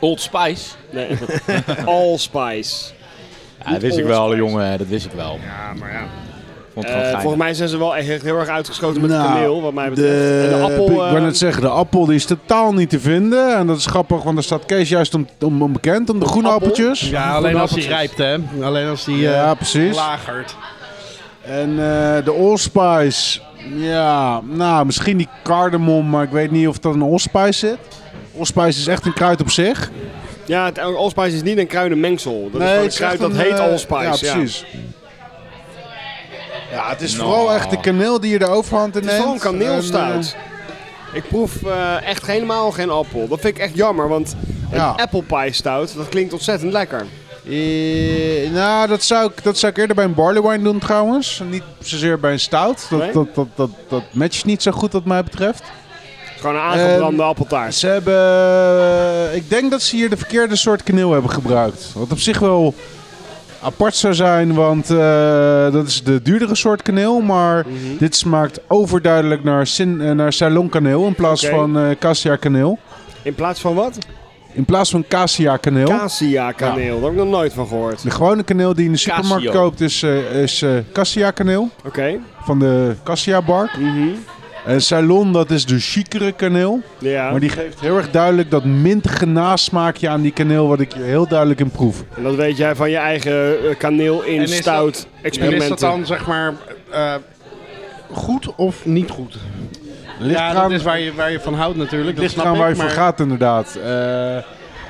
Old Spice.
Nee, allspice.
Ja, dat wist ik wel, jongen. Dat wist ik wel.
Ja, maar ja.
Vond het
Eh,
gewoon geinig.
volgens mij zijn ze wel echt heel erg uitgeschoten met
Nou,
de kaneel, wat mij betreft.
De,
en de appel...
Ik wou
eh,
net zeggen, de appel die is totaal niet te vinden. En dat is grappig, want daar staat Kees juist om, om, om bekend, om de groene
Appel?
appeltjes.
Ja, alleen als hij rijpt, hè? Alleen als hij
Ja,
eh,
precies.
lagert.
En eh, de allspice. Ja, nou, misschien die cardamom, maar ik weet niet of dat een allspice zit. Allspice is echt een kruid op zich.
ja, het allspice is niet een kruidenmengsel. Dat is gewoon een
het is
kruid
echt
dat
een,
heet
eh,
allspice.
Ja, precies. Ja, het is vooral echt de kaneel die je de overhand in
Nou. Het is
neemt.
gewoon
En, eh,
kaneelstaart. Ik proef eh, echt helemaal geen appel. Dat vind ik echt jammer, want een
Ja.
apple pie stout, dat klinkt ontzettend lekker.
eh, eh, nou, dat zou, ik, dat zou ik eerder bij een barley wine doen trouwens. Niet zozeer bij een stout. Dat,
Nee?
dat, dat, dat, dat matcht niet zo goed wat mij betreft.
Gewoon een aangebrande
Ehm,
appeltaart.
Ze hebben. Ik denk dat ze hier de verkeerde soort kaneel hebben gebruikt. Wat op zich wel apart zou zijn, want eh, dat is de duurdere soort kaneel. Maar
Mhm.
dit smaakt overduidelijk naar, cin, eh, naar Ceylon kaneel in plaats
Oké.
van eh cassia kaneel.
In plaats van wat?
In plaats van cassia kaneel.
Cassia kaneel, daar heb ik nog nooit van gehoord.
de gewone kaneel die je in de supermarkt
Casio.
koopt is, eh, is eh, cassia kaneel
Oké.
van de cassia bark.
Mhm.
En Ceylon dat is de chicere kaneel.
Ja,
Maar die geeft heel erg duidelijk dat mintige nasmaakje aan die kaneel, wat ik hier heel duidelijk in proef.
en dat weet jij van je eigen eh, kaneel
En
in
is dat-
stout
En is
experimenten.
dat dan, zeg maar, eh, goed of niet goed?
Ligt
ja,
eraan-
dat is waar je, waar je van houdt natuurlijk. Dat
Ligt
snap
eraan
ik,
waar je
maar
voor gaat inderdaad. Eh,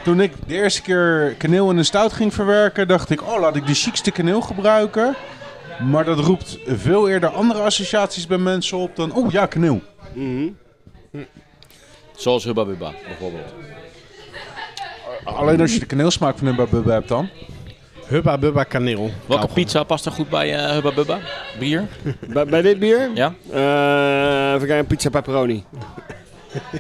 toen ik de eerste keer kaneel in een stout ging verwerken, dacht ik, oh laat ik de chicste kaneel gebruiken. Maar dat roept veel eerder andere associaties bij mensen op dan, oh ja, kaneel.
Mhm.
Zoals Hubba Bubba, bijvoorbeeld.
Alleen als je de kaneelsmaak van Hubba Bubba hebt dan.
Hubba bubba kaneel.
Welke pizza past er goed bij eh, Hubba Bubba? Bier?
Bij, bij dit bier?
Ja?
Eh, even kijken, pizza pepperoni.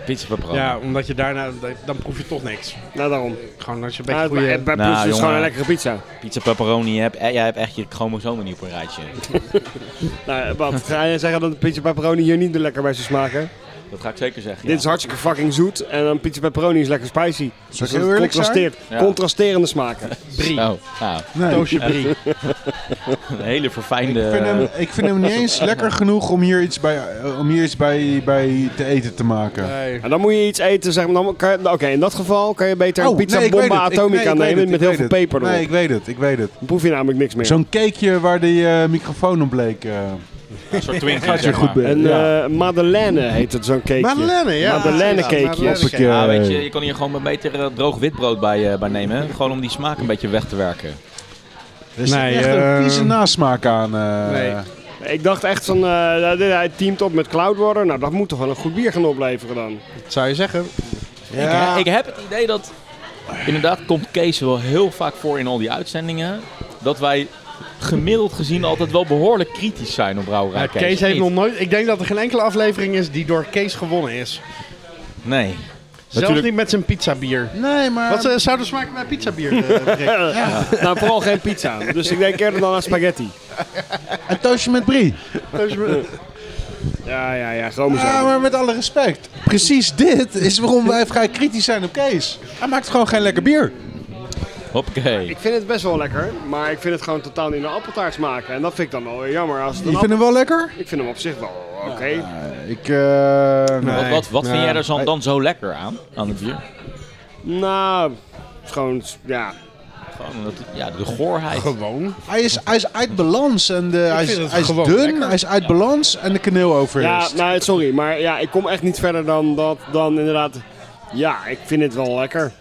Pizza pepperoni.
Nou, Ja, omdat je daarna, dan proef je toch niks.
Nou, daarom.
Gewoon als je een
Ah,
beetje
het- eh,
goede...
bij
Nou,
Poes is
jongen.
gewoon een lekkere pizza.
Pizza pepperoni, je hebt, eh, jij hebt echt je chromosomen niet op een rijtje.
Nou, wat, ga je zeggen dat de pizza pepperoni hier niet lekker bij zou smaken?
Dat ga ik zeker zeggen.
Dit is
ja.
hartstikke fucking zoet en een pizza pepperoni is lekker spicy. Dus
heel
het
eerlijk zijn?
contrasteert.
Ja.
Contrasterende smaken.
Brie.
Oh, nou,
Nee.
Toosje brie.
een hele
Ik
verfijnde...
vind, hem, ik vind hem niet eens lekker genoeg om hier iets bij, eh, om hier iets bij, bij te eten te maken.
Nee.
En dan moet je iets eten, zeg maar. dan kan je- Oké, in dat geval kan je beter een
Oh,
pizza
nee, ik weet
bomba
het. Ik- nee,
atomica
ik weet
nemen
het,
met
ik
heel
weet
veel
het.
peper erop.
Nee, ik weet het, ik weet het.
Dan proef je namelijk niks meer.
Zo'n cakeje waar die eh, microfoon op bleek. eh,
Een soort twinkie,
je
zeg
goed
maar.
bent.
Een
ja.
eh, madeleine heet het, zo'n cakeje.
Madeleine, ja.
Madeleine
Ja,
cakejes.
madeleine cake.
Hoppakee.
Ja, weet je, je kan hier gewoon maar beter eh, droog witbrood bij, eh, bij nemen. hè. Gewoon om die smaak een beetje weg te werken.
Er zit
Nee,
echt
eh,
een vieze nasmaak aan. eh.
nee.
Ik dacht echt van, eh, nou, dit- hij teamt op met Cloudwater. Nou, dat moet toch wel een goed bier gaan opleveren dan.
Dat zou je zeggen.
Ja.
Ik, ik heb het idee dat... Inderdaad komt Kees wel heel vaak voor in al die uitzendingen. Dat wij gemiddeld gezien altijd wel behoorlijk kritisch zijn op brouwerij
Ja, Nou, Kees heeft
Niet?
nog nooit... Ik denk dat er geen enkele aflevering is die door Kees gewonnen is.
Nee.
Zelfs niet met zijn pizzabier.
Nee, maar...
Wat eh, zou de smaak bij pizzabier, eh, Rick?
nou, vooral geen pizza. Dus ik denk eerder dan aan spaghetti.
Een toastje met brie.
Ja, ja, ja, chromosomen.
Ja, maar met alle respect. Precies dit is waarom wij vrij kritisch zijn op Kees. Hij maakt gewoon geen lekker bier.
Hoppakee.
Ik vind het best wel lekker, maar ik vind het gewoon totaal niet naar appeltaart smaken. En dat vind ik dan wel weer jammer. Als het een
Je vindt hem wel lekker?
appel- Ik vind hem op zich wel oké.
Eh, ik... eh, nee.
Wat, wat, wat vind
Nee.
jij er zo,
Hij-
dan zo lekker aan, aan het bier?
Nou, het is gewoon, ja.
Gewoon dat, ja, de goorheid.
Gewoon.
Ah,
Hij is, hij is uit balans en de, hij is,
vind het
hij is
gewoon
dun,
lekker.
hij is uit balans en de kaneel
ja
overheerst.
nou, sorry, maar ja, ik kom echt niet verder dan dat, dan inderdaad. Ja, ik vind het wel lekker.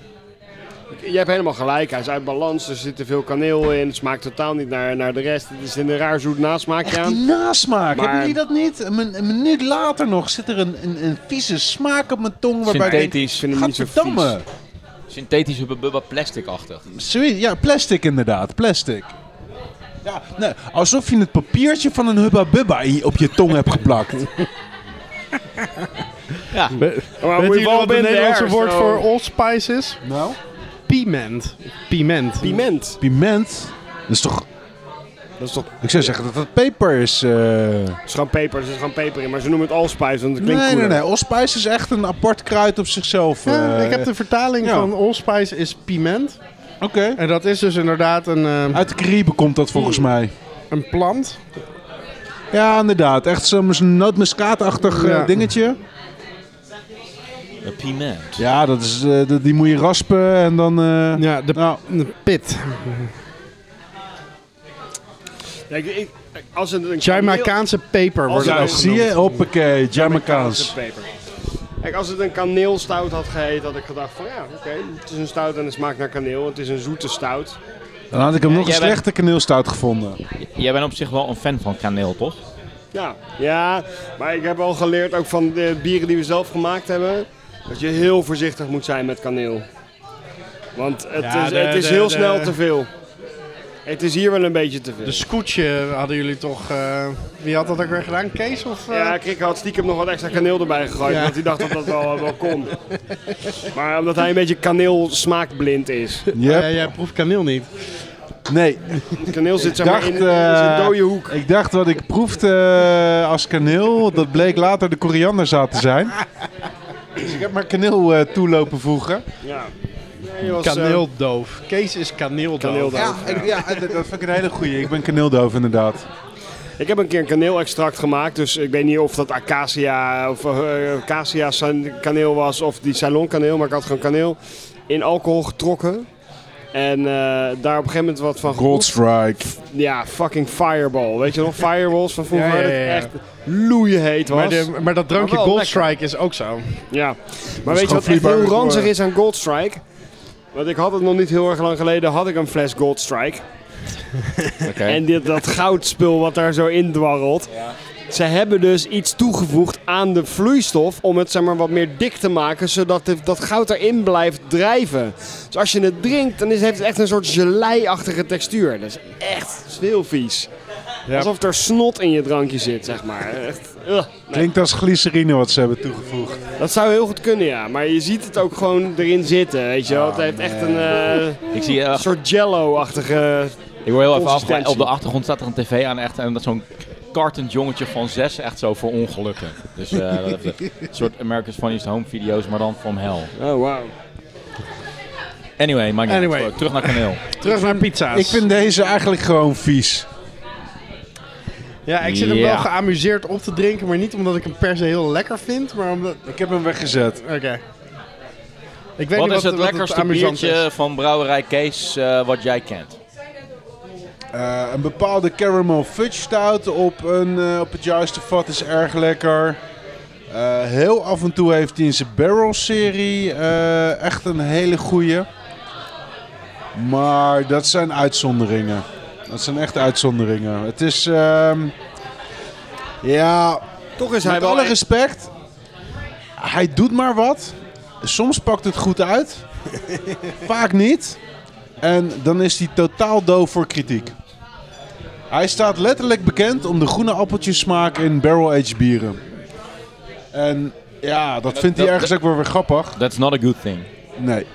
Je hebt helemaal gelijk, hij is uit balans, er zit te veel kaneel in, het smaakt totaal niet naar, naar de rest. Het is een raar zoet nasmaakje
Die
aan.
nasmaak,
Maar-
hebben jullie dat niet? Een, min- een minuut later nog zit er een, een, een vieze smaak op mijn tong waarbij ik denk,
Ik
Synthetisch,
vind hem niet zo vies.
gadverdamme.
synthetische bubba plastic-achtig.
Zoiets- Ja, plastic inderdaad, plastic. Ja, nee, alsof je het papiertje van een hubba bubba i- op je tong hebt geplakt.
Maar
Weet
we've
jullie
all
wat het
been there,
Nederlandse woord
so-
voor allspice is?
Nou?
Piment. Piment.
Piment,
Piment, dat is toch...
dat is toch
Ik zou zeggen dat dat peper is. eh.
het is gewoon peper, er zit gewoon peper in, maar ze noemen het allspice, want het
Nee,
klinkt
nee, nee,
cooler.
Allspice is echt een apart kruid op zichzelf.
Ja,
eh.
ik heb de vertaling
ja.
van allspice is piment.
Oké.
En dat is dus inderdaad een, eh,
Uit de Cariben komt dat volgens mij.
een plant.
Ja, inderdaad. Echt zo'n nootmuskaatachtig eh,
Ja.
dingetje.
Een piment.
Ja, dat is, eh, dat- die moet je raspen en dan... eh,
Ja, de,
Nou,
de pit.
Ja, ik- ik- als het een
Jamaicaanse peper wordt het
Als
ook
ja,
jij-
genoemd.
zie je? Hoppakee, Jamaicaans.
Peper. Kijk, als het een kaneelstout had geheten, had ik gedacht van ja, oké, het is een stout en het smaakt naar kaneel. Het is een zoete stout.
Dan had ik hem nog een
jij bent-
slechte kaneelstout gevonden.
Jij bent op zich wel een fan van kaneel, toch?
Ja, ja, maar ik heb al geleerd ook van de bieren die we zelf gemaakt hebben, dat je heel voorzichtig moet zijn met kaneel. Want het
Ja,
is,
de-
het is
de-
heel
de-
snel te veel. Het is hier wel een beetje te veel.
De scootje hadden jullie toch... eh, wie had dat ook weer gedaan? Kees of... eh?
Ja, Krik had stiekem nog wat extra kaneel erbij gegooid,
Ja.
want hij dacht dat dat wel, wel kon. Maar omdat hij een beetje kaneel smaakblind is.
Yep.
Eh, jij proeft kaneel niet.
Nee,
Kaneel zit zeg maar
dacht,
in, in zijn
eh,
dode hoek.
ik dacht wat ik proefde eh, als kaneel, dat bleek later de korianderzaad te zijn. Dus ik heb maar kaneel eh, toelopen voegen.
Ja. Nee, je was, eh,
Kaneeldoof. Kees is kaneeldoof.
Kaneeldoof.
Ja, ik, ja, dat dat vind ik een hele goeie. Ik ben kaneeldoof inderdaad.
Ik heb een keer een kaneelextract gemaakt, dus ik weet niet of dat acacia of eh, acacia san- kaneel was of die Ceylon kaneel, maar ik had gewoon kaneel in alcohol getrokken. En eh, daar op een gegeven moment wat van
Gold
geproefd.
Strike.
Ja, fucking fireball. Weet je nog, fireballs van vroeger?
Ja, ja,
dat
ja, ja.
Echt loeiheet was.
Maar, de, maar dat drankje
Maar wel
Gold
lekker.
Strike is ook zo.
Ja, maar weet je
gewoon
wat echt heel
vloeibaar voor-
ranzig is aan Gold Strike? Want ik had het nog niet heel erg lang geleden, had ik een fles Gold Strike. En dit, dat goudspul wat daar zo in dwarrelt. Ze hebben dus iets toegevoegd aan de vloeistof om het zeg maar, wat meer dik te maken, zodat de- dat goud erin blijft drijven. Dus als je het drinkt, dan is, heeft het echt een soort gelei-achtige textuur. Dat is echt dat is heel vies.
Ja.
Alsof er snot in je drankje zit, zeg maar. Echt, ugh.
Klinkt als glycerine wat ze hebben toegevoegd.
Dat zou heel goed kunnen, ja. Maar je ziet het ook gewoon erin zitten, weet je wel. het heeft echt een eh,
Ik zie eh,
soort jello-achtige...
Ik word heel even
Consistentie.
afgeleid. Op de achtergrond staat er een tv aan echt, en dat is zo'n kartend jongetje van zes echt zo voor ongelukken. Dus eh, wat dat betreft, een soort America's Funniest Home video's, maar dan van hell.
Oh, wauw.
Anyway, maakt niet
Anyway.
uit. terug naar kaneel.
Terug naar pizza's.
Ik vind deze eigenlijk gewoon vies.
ja, ik zit hem wel
Ja.
geamuseerd op te drinken, maar niet omdat ik hem per se heel lekker vind, maar omdat...
Ik heb hem weggezet.
Oké. Ik weet
Wat
niet
is
wat,
het
wat
lekkerste
amusant
biertje
is.
van brouwerij Kees eh, wat jij kent?
Eh, een bepaalde caramel fudge stout op, een, eh, op het juiste vat is erg lekker. Eh, heel af en toe heeft hij in zijn barrel serie eh, echt een hele goeie. Maar dat zijn uitzonderingen. Dat zijn echt uitzonderingen. Het is... ehm, ja,
Toch is hij
Met
wel
alle
echt-
respect, hij doet maar wat. Soms pakt het goed uit, vaak niet. En dan is hij totaal doof voor kritiek. Hij staat letterlijk bekend om de groene appeltjessmaak in barrel-aged bieren. En ja, dat vindt hij
dat-
ergens ook wel weer grappig.
That's not a good thing.
Nee.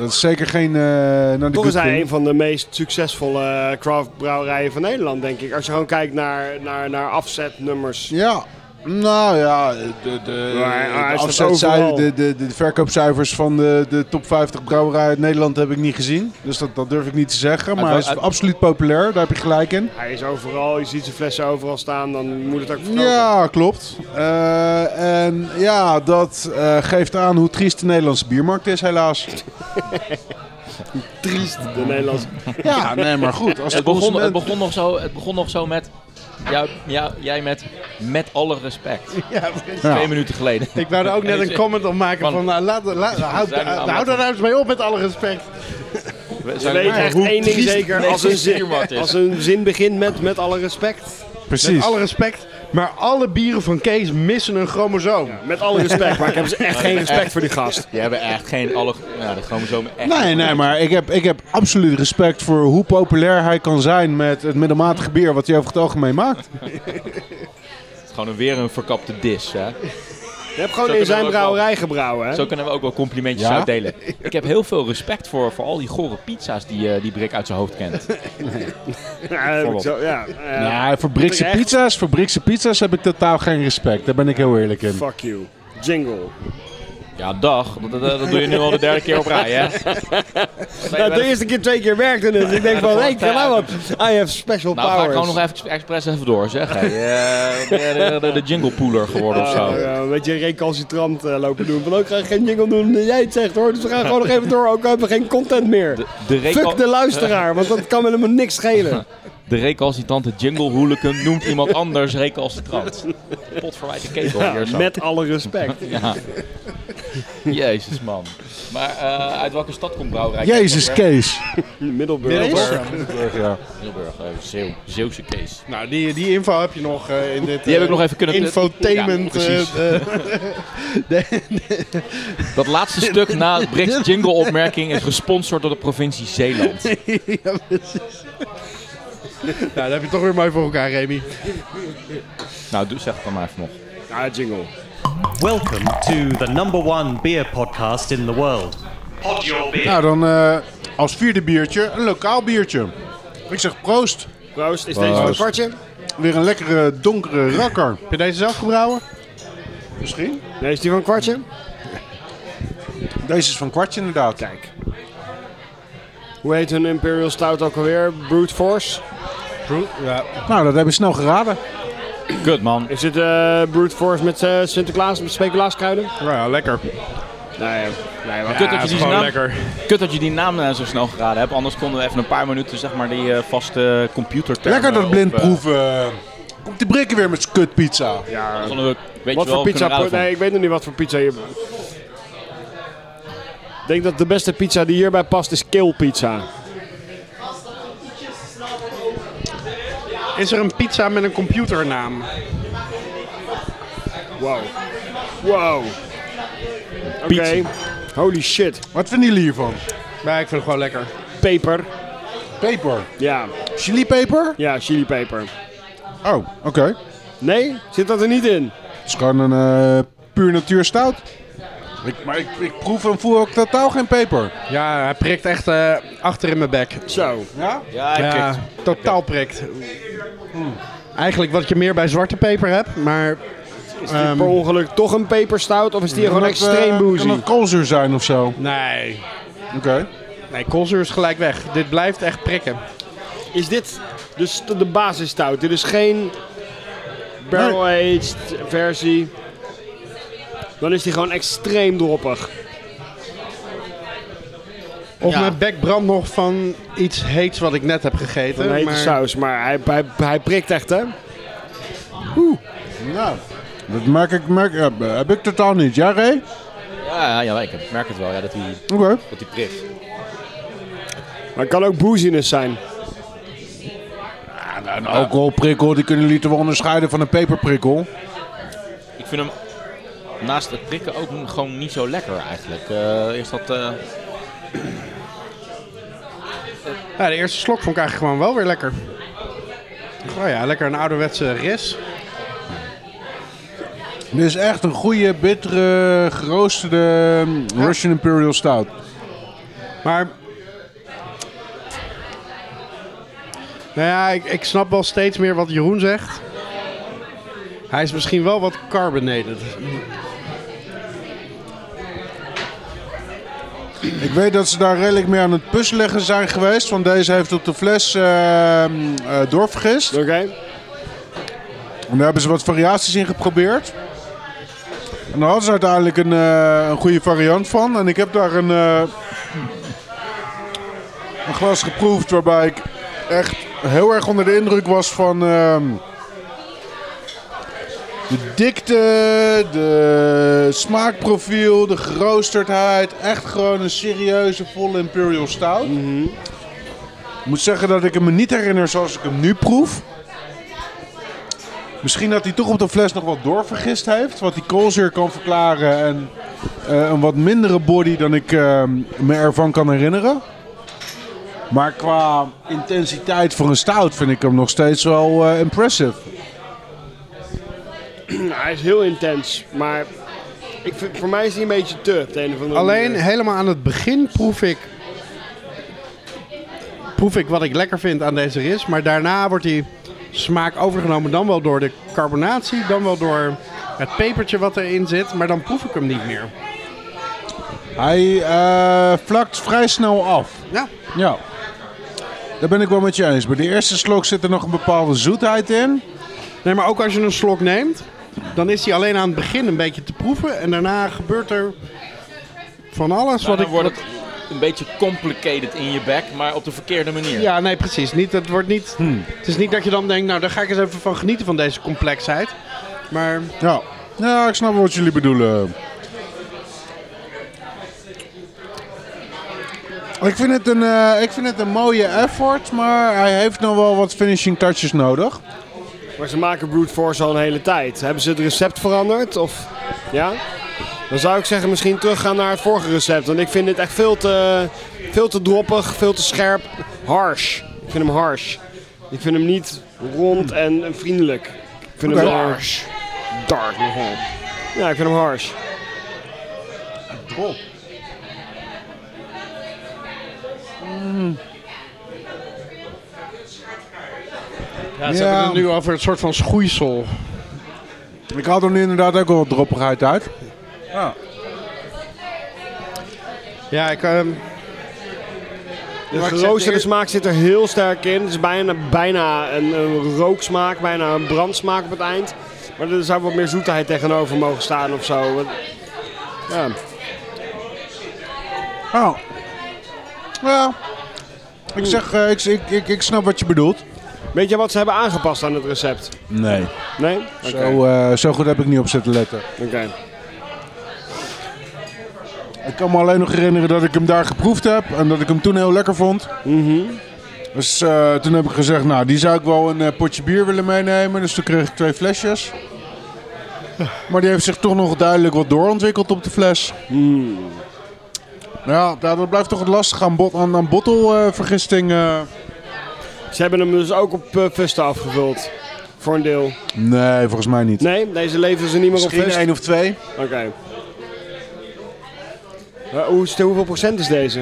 Dat is zeker geen... eh not a
Toch
good
is hij
thing.
een van de meest eh, succesvolle craftbrouwerijen van Nederland, denk ik. Als je gewoon kijkt naar, naar, naar afzetnummers.
Ja, Nou ja, de, de,
Maar hij
de,
staat
afzetcijf-
overal.
de, de, de verkoopcijfers van de, de top 50 brouwerijen uit Nederland heb ik niet gezien. Dus dat, dat durf ik niet te zeggen. Maar hij
wel-
is
uit-
absoluut populair, daar heb je gelijk in.
Hij is overal, je ziet zijn flessen overal staan, dan moet het ook verkopen.
Ja, klopt. Eh, en ja, dat eh, geeft aan hoe triest de Nederlandse biermarkt is, helaas.
Triest, de Nederlandse.
Ja, nee, maar goed. Als
Het
de
begon, het,
consument-
begon nog zo, het begon nog zo met. Ja, ja, jij met. Met alle respect.
Ja,
Ja.
Twee minuten geleden.
ik wou er ook net een comment op maken van,
Want-
nou, laat, laat, houd,
zijn er
houd,
allemaal-
daar nou eens mee op met alle respect.
Je weet echt één ding zeker, als een, zin,
biermarkt is.
als een zin begint met met alle respect.
Met
Precies.
alle respect, maar alle bieren van Kees missen een chromosoom.
Met alle respect, maar ik heb dus echt geen respect voor die gast.
Die hebben echt geen. Alle, ja, de chromosomen echt.
Nee, nee, maar ik heb, ik heb absoluut respect voor hoe populair hij kan zijn met het middelmatige bier wat hij over het algemeen maakt.
Het is gewoon een- weer een verkapte dis. Hè?
Je hebt gewoon
Zo
in
kunnen
zijn
we ook wel-
brouwerij gebrouwen, hè?
Zo kunnen we ook wel complimentjes
Ja?
uitdelen. Ik heb heel veel respect voor, voor al die gore pizza's die, eh, die Brik uit zijn hoofd kent.
Ja, heb ik zo- ja, ja.
Ja, voor Brikse
Echt?
pizza's, voor Brikse pizza's heb ik totaal geen respect. Daar ben ik heel eerlijk in.
Fuck you. Jingle.
Ja, dag. Dat, dat, dat doe je nu al de derde keer op rij, hè?
Nou, de eerste keer twee keer werkte het. Dus ik denk van, hé, hey, kan nou wat. I have special
Nou, ga ik
powers.
gewoon nog even expres even door, zeg. Hey, eh, ben jij de, de, de jingle pooler geworden of
Ja,
zo?
ja, een beetje recalcitrant eh, lopen doen. Van ook ga ik geen jingle doen. eh, Jij het zegt hoor. Dus we gaan gewoon nog even door. Ook hebben we geen content meer.
De, de, recal-
Fuck de luisteraar, want dat kan me helemaal niks schelen.
de recalcitrante jingle hooligan noemt iemand anders recalcitrant. Pot verwijte ketel hier zo.
met alle respect.
Ja. Jezus, man. Maar eh, uit welke stad komt Brouwerij?
Jezus, Kees.
Middelburg.
Ja.
Middelburg, eh, Zeeuw, Zeeuwse Kees.
Nou, die, die info heb je nog eh, in dit
Die heb ik
eh,
nog even kunnen...
infotainment.
Ja, precies.
eh, eh,
Dat laatste stuk na Brits jingle opmerking is gesponsord door de provincie Zeeland.
ja, precies. nou, dat heb je toch weer mooi voor elkaar, Remy.
Nou, doe- zeg het dan maar even nog.
Ja, jingle.
Welcome to the number one beer podcast in the world. Pod your beer.
Nou, dan eh, als vierde biertje een lokaal biertje. Ik zeg proost.
Proost, is deze een kwartje?
Weer een lekkere donkere rakker.
Heb je deze zelf gebrouwen?
Misschien?
Nee, is die van een kwartje?
Deze is van kwartje inderdaad. Kijk.
Hoe heet hun Imperial Stout ook alweer? Brute Force?
Nou, dat heb ik snel geraden.
Kut, man.
Is dit eh, Brute Force met eh, Sinterklaas, met speculaaskruiden?
Ja, lekker.
Nee, nee, wat
Kut dat, je die naam,
lekker.
kut dat je die naam eh, zo snel geraden hebt. Anders konden we even een paar minuten zeg maar, die eh, vaste computer
Lekker dat blind proeven. Komt die brikken weer met zijn kutpizza.
eh, Ja,
we, weet
Wat
je wel,
voor pizza?
kunnen raden
pro- Nee, ik weet nog niet wat voor pizza je. Ik denk dat de beste pizza die hierbij past is kale pizza.
Is er een pizza met een computernaam?
Wow. Wow. Oké. Holy shit.
Wat vinden jullie hiervan?
Ja, ik vind het gewoon lekker.
Peper.
Peper.
Ja.
Chilipeper?
Ja, chilipeper.
Oh, oké.
Nee? Zit dat er niet in?
Het is gewoon een eh, puur natuurstout. Ik, maar ik, ik proef en voel ook totaal geen peper.
Ja, hij prikt echt eh, achter in mijn bek.
Zo.
Ja?
Ja, ik
Ja,
kijk.
totaal prikt. Eigenlijk wat je meer bij zwarte peper hebt, maar
Is die per ongeluk toch een peperstout of is die gewoon extreem
Kan
boozy?
dat koolzuur zijn of zo?
nee.
Oké.
Nee, koolzuur is gelijk weg. Dit blijft echt prikken.
Is dit dus de basisstout? Dit is geen barrel-aged versie. Dan is die gewoon extreem droppig.
Of
Ja.
mijn bek brandt nog van iets heets wat ik net heb gegeten.
Een hete
maar
saus, maar hij, hij, hij prikt echt, hè?
Nou, dat merk ik, merk, heb, heb ik totaal niet. Ja, Ray?
Ja, ja, ik merk het wel ja, dat hij
Oké.
dat die prikt.
Maar het kan ook booziness zijn.
Een alcoholprikkel, die kunnen jullie toch wel onderscheiden van een peperprikkel?
Ik vind hem naast het prikken ook n- gewoon niet zo lekker eigenlijk. Eh is dat... eh,
Ja, de eerste slok vond ik eigenlijk gewoon wel weer lekker. Oh ja, lekker een ouderwetse ris.
Dit is echt een goede, bittere, geroosterde mm, Russian Imperial Stout.
Maar. Nou ja, ik, ik snap wel steeds meer wat Jeroen zegt. Hij is misschien wel wat carbonated.
Ik weet dat ze daar redelijk mee aan het puzzelen zijn geweest. Want deze heeft op de fles eh, eh, doorvergist.
Oké.
En daar hebben ze wat variaties in geprobeerd. En daar hadden ze uiteindelijk een, eh, een goede variant van. En ik heb daar een, eh, een glas geproefd waarbij ik echt heel erg onder de indruk was van ehm, de dikte, de smaakprofiel, de geroosterdheid. Echt gewoon een serieuze volle Imperial Stout. Ik moet zeggen dat ik hem me niet herinner zoals ik hem nu proef. Misschien dat hij toch op de fles nog wat doorvergist heeft. Wat die koolzuur kan verklaren. En eh, een wat mindere body dan ik eh, me ervan kan herinneren. Maar qua intensiteit voor een stout vind ik hem nog steeds wel eh, impressive.
Nou, hij is heel intens, maar ik vind, voor mij is hij een beetje te op de een of andere
Alleen
manier.
helemaal aan het begin proef ik. Proef ik wat ik lekker vind aan deze ris. Maar daarna wordt die smaak overgenomen. Dan wel door de carbonatie. Dan wel door het pepertje wat erin zit. Maar dan proef ik hem niet meer.
Hij eh, vlakt vrij snel af.
Ja.
Ja. Daar ben ik wel met je eens. Bij de eerste slok zit er nog een bepaalde zoetheid in.
Nee, maar ook als je een slok neemt. Dan is die alleen aan het begin een beetje te proeven. En daarna gebeurt er van alles
Nou, Dan
wat ik...
wordt het een beetje complicated in je bek, maar op de verkeerde manier.
Ja, nee, precies. Niet, het, wordt niet, het is niet dat je dan denkt, nou, daar ga ik eens even van genieten van deze complexheid. Maar
Ja. Ja, ik snap wat jullie bedoelen. Ik vind, het een, eh, ik vind het een mooie effort, maar hij heeft nog wel wat finishing touches nodig.
Maar ze maken Brute Force al een hele tijd. Hebben ze het recept veranderd? Of, ja? Dan zou ik zeggen misschien teruggaan naar het vorige recept. Want ik vind dit echt veel te, veel te droppig, veel te scherp. Harsh. Ik vind hem harsh. Ik vind hem niet rond en, en vriendelijk. Ik vind
Oké.
hem harsh. Dark nogal. Ja, ik vind hem harsh.
ja, ze hebben het nu over het soort van schoeisel.
Ik haal er nu inderdaad ook wel wat droppigheid uit.
Ja, ik, ehm,
De
Maar ik zeg
geroosterde
eer-
smaak zit er heel sterk in. Het is bijna, bijna een, een rooksmaak, bijna een brandsmaak op het eind. Maar er zou wat meer zoetheid tegenover mogen staan of zo. Want- Ja.
Oh. Ja. Ik zeg, eh, ik, ik, ik, ik snap wat je bedoelt.
Weet je wat ze hebben aangepast aan het recept?
Nee.
Nee?
Zo,
Oké.
eh, zo goed heb ik niet op zitten letten.
Oké.
Ik kan me alleen nog herinneren dat ik hem daar geproefd heb en dat ik hem toen heel lekker vond. Dus eh, toen heb ik gezegd, nou die zou ik wel een eh, potje bier willen meenemen. Dus toen kreeg ik twee flesjes. Maar die heeft zich toch nog duidelijk wat doorontwikkeld op de fles. Hmm. Ja, nou, dat blijft toch wat lastig aan, bot, aan, aan bottelvergisting. eh.
Ze hebben hem dus ook op eh Fusta afgevuld. Voor een deel.
Nee, volgens mij niet.
Nee, deze leveren ze niet meer op
Misschien
Fusta.
één of twee.
Oké. Eh, hoe, is- hoeveel procent is deze?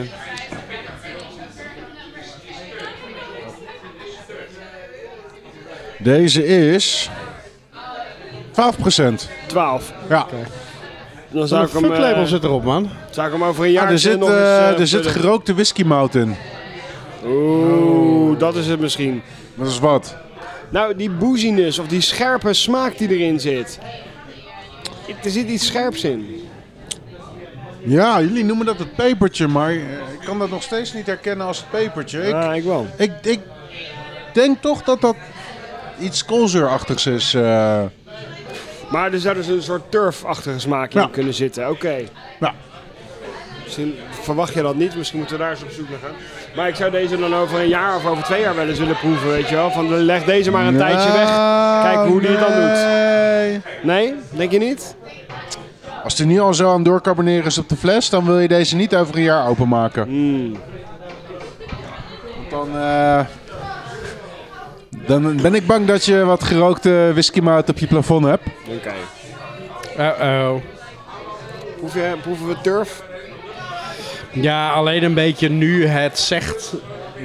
Deze is 12%.
12.
Ja.
Dan zou
een
ik, hem, eh,
fucklabel zit erop, man.
zou ik hem over een jaar
Ah, er zit,
nog
eh,
eens... eh,
er zit
vullen.
gerookte whiskymout in.
Oeh, Oh, dat is het misschien.
Dat is wat.
Nou, die booziness of die scherpe smaak die erin zit. Er zit iets scherps in.
Ja, jullie noemen dat het pepertje, maar eh, ik kan dat nog steeds niet herkennen als het pepertje. Ik,
ah, ik wel.
ik, ik denk toch dat dat iets koolzuurachtigs is. eh.
Maar er zou dus een soort turfachtige smaak in
Ja.
kunnen zitten. Oké.
Ja.
Misschien verwacht je dat niet. Misschien moeten we daar eens op zoek naar gaan. Maar ik zou deze dan over een jaar of over twee jaar wel eens willen proeven, weet je wel. Van leg deze maar een tijdje weg.
Nou,
Kijk hoe die het dan doet.
doet.
Nee? Denk je niet?
Als er nu al zo aan doorkarboneren is op de fles, dan wil je deze niet over een jaar openmaken.
Hmm.
Want Dan, eh, dan ben ik bang dat je wat gerookte whiskymout op je plafond hebt.
Oké.
Uh-oh.
Proef je- proeven we turf?
Ja, alleen een beetje nu het zegt.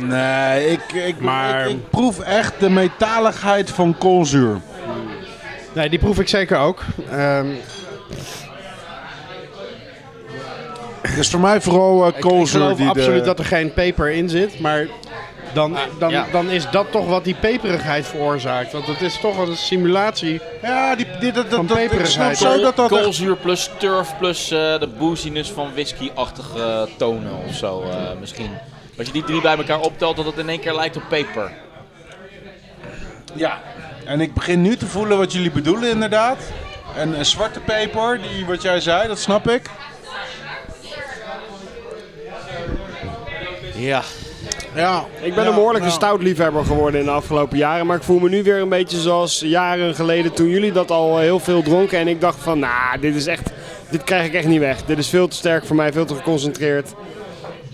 Nee, ik, ik,
Maar-
ik, ik proef echt de metaligheid van koolzuur.
Nee, die proef ik zeker ook. Ehm,
Dus voor mij vooral eh
ik, ik
koolzuur
geloof
die de-
absoluut dat er geen peper in zit, maar dan, dan,
ja.
dan is dat toch wat die peperigheid veroorzaakt. Want het is toch wel een simulatie.
Ja, die, die, dat,
Van
dat, dat, ik snap
peperigheid.
zo dat dat... echt-
Koolzuur plus turf plus eh, de booziness van whisky-achtige eh, tonen of zo eh, misschien. Als je die drie bij elkaar optelt, dat het in één keer lijkt op peper.
En ik begin nu te voelen wat jullie bedoelen inderdaad. En eh, zwarte peper, die, wat jij zei, dat snap ik.
Ja.
Ja,
Ik ben een behoorlijke stoutliefhebber geworden in de afgelopen jaren. Maar ik voel me nu weer een beetje zoals jaren geleden toen jullie dat al eh, heel veel dronken. En ik dacht van, nou, dit is echt... Dit krijg ik echt niet weg. Dit is veel te sterk voor mij, veel te geconcentreerd.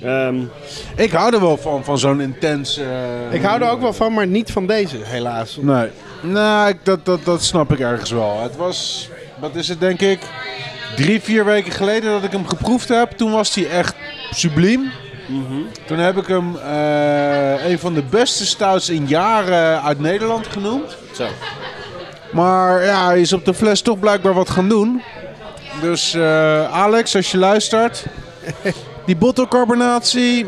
Ehm,
Ik hou er wel van, van zo'n intense...
Ik hou er ook wel van, maar niet van deze, helaas.
Nee. Nee, ik- dat, dat, dat snap ik ergens wel. Het was, wat is het denk ik, drie, vier weken geleden dat ik hem geproefd heb. Toen was hij echt subliem. Toen heb ik hem eh, een van de beste stouts in jaren uit Nederland genoemd.
Zo.
Maar ja, hij is op de fles toch blijkbaar wat gaan doen. Dus eh, Alex, als je luistert, die bottelcarbonatie,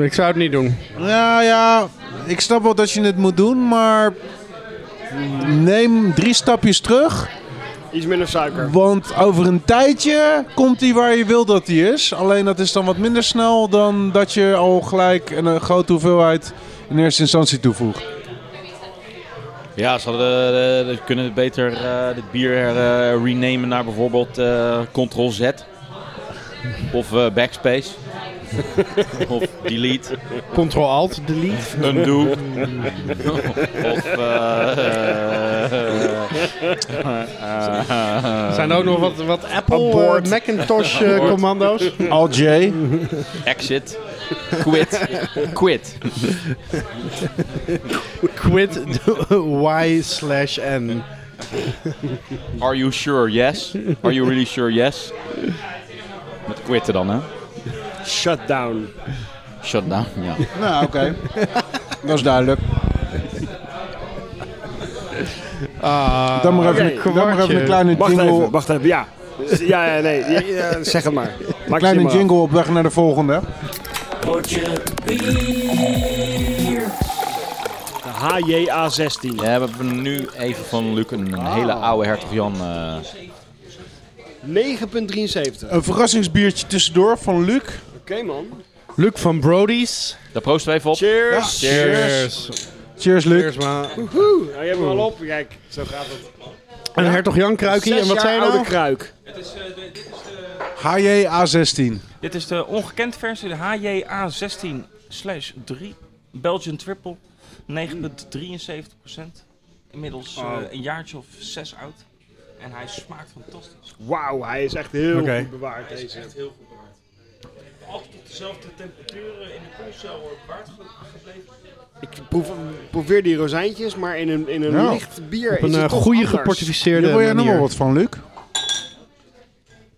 Ik zou het niet doen.
ja, ja, ik snap wel dat je het moet doen, maar neem drie stapjes terug.
iets minder suiker.
Want over een tijdje komt hij waar je wil dat hij is. Alleen dat is dan wat minder snel dan dat je al gelijk een eh, grote hoeveelheid in eerste instantie toevoegt.
Ja, ze hadden, eh, eh, kunnen beter eh, dit bier eh, renamen naar bijvoorbeeld eh, Ctrl-Z. Of eh, Backspace. of Delete.
Ctrl-Alt, delete.
Undo. of... eh, eh,
Zijn er ook nog wat, wat Apple
Abort.
eh, Macintosh eh, commando's?
Al J.
Exit. Quit. Quit.
Quit Y slash N.
Are you sure? Yes. Are you really sure? Yes. Met quitten dan, hè?
Shutdown.
Shutdown, ja.
Nou, oké. dat is duidelijk.
Ah,
Dan maar
oké,
even, dan maar even een kleine
Wacht
jingle,
even, wacht even. Ja, ja, ja nee. Ja, ja, zeg het maar. Maak
kleine
je maar af.
jingle op weg naar de volgende.
HJA16.
Ja, we hebben nu even van Luc een hele oude hertog Jan. eh,
9,73. Oké
Een verrassingsbiertje tussendoor van Luc.
man.
Luc van Brody's.
daar proosten we even op.
Cheers.
Cheers, Luc.
Cheers, man.
Nou, je hebt hem al op. Kijk, zo gaat het.
Een hertog Jan kruikje.
Zes
En wat
jaar
zei je
oude
nou?
kruik.
Dus, eh,
HJ A16.
Dit is de ongekend versie, de HJA16 3 Belgian Triple, 9,73%. Inmiddels eh,
Oh.
een jaartje of zes oud. En hij smaakt fantastisch.
Wauw, hij is echt heel
Oké.
goed bewaard deze.
Echt heel goed bewaard. Altijd op dezelfde temperaturen in de koelcel wordt bewaard ge- gebleven.
Ik proef, probeer die rozijntjes, maar in een, in een
Nou,
licht bier
Op een
is het
eh,
toch
goede
anders.
geportificeerde
Hier wil jij nog wel
manier.
wat van, Luc?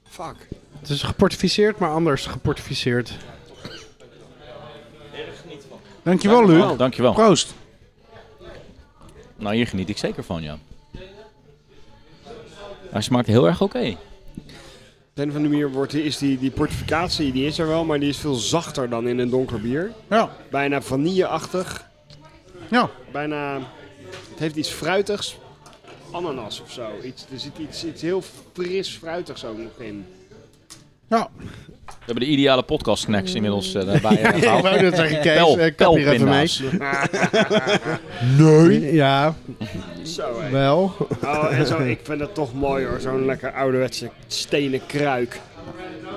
Fuck.
Het is geportificeerd, maar anders geportificeerd.
Dankjewel, Luc.
Oh, dankjewel.
Proost.
Nou, hier geniet ik zeker van, ja. Hij smaakt heel erg oké.
Op de een of andere manier wordt, die- is die, die portificatie, die is er wel, maar die is veel zachter dan in een donker bier.
Ja.
Bijna vanilleachtig.
Ja.
Bijna, het heeft iets fruitigs. Ananas of zo. Iets, er zit iets, iets heel fris fruitigs ook nog in.
Ja.
We hebben de ideale podcast snacks inmiddels eh daarbij eh,
Oh, Ik
gehaald.
wou net zeggen, Kees,
Pel-
eh, kap hier even mee.
pelpinda's.
Ja,
Zo hé.
wel.
Oh, en zo, ik vind dat toch mooi hoor. Zo'n lekker ouderwetse stenen kruik.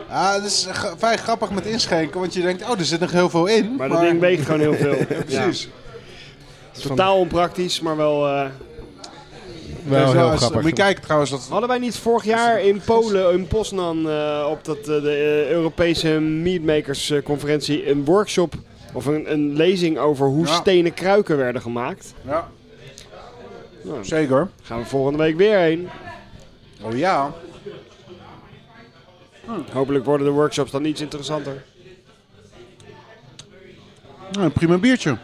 Ja, het is g- vrij grappig met inschenken, want je denkt, oh, er zit nog heel veel in.
Maar dat ding weegt gewoon heel veel.
Precies.
Ja. Totaal onpraktisch, maar wel... eh,
Wel
Dus, eh,
heel
als- Moet
grappig.
je kijken trouwens, dat
Hadden wij niet vorig jaar in Polen, in Poznan, eh, op dat, eh, de eh, Europese Meatmakers-conferentie een workshop of een, een lezing over hoe
Ja.
stenen kruiken werden gemaakt?
Ja.
Nou,
Zeker.
gaan we volgende week weer heen.
Oh ja.
Hopelijk worden de workshops dan iets interessanter.
prima biertje.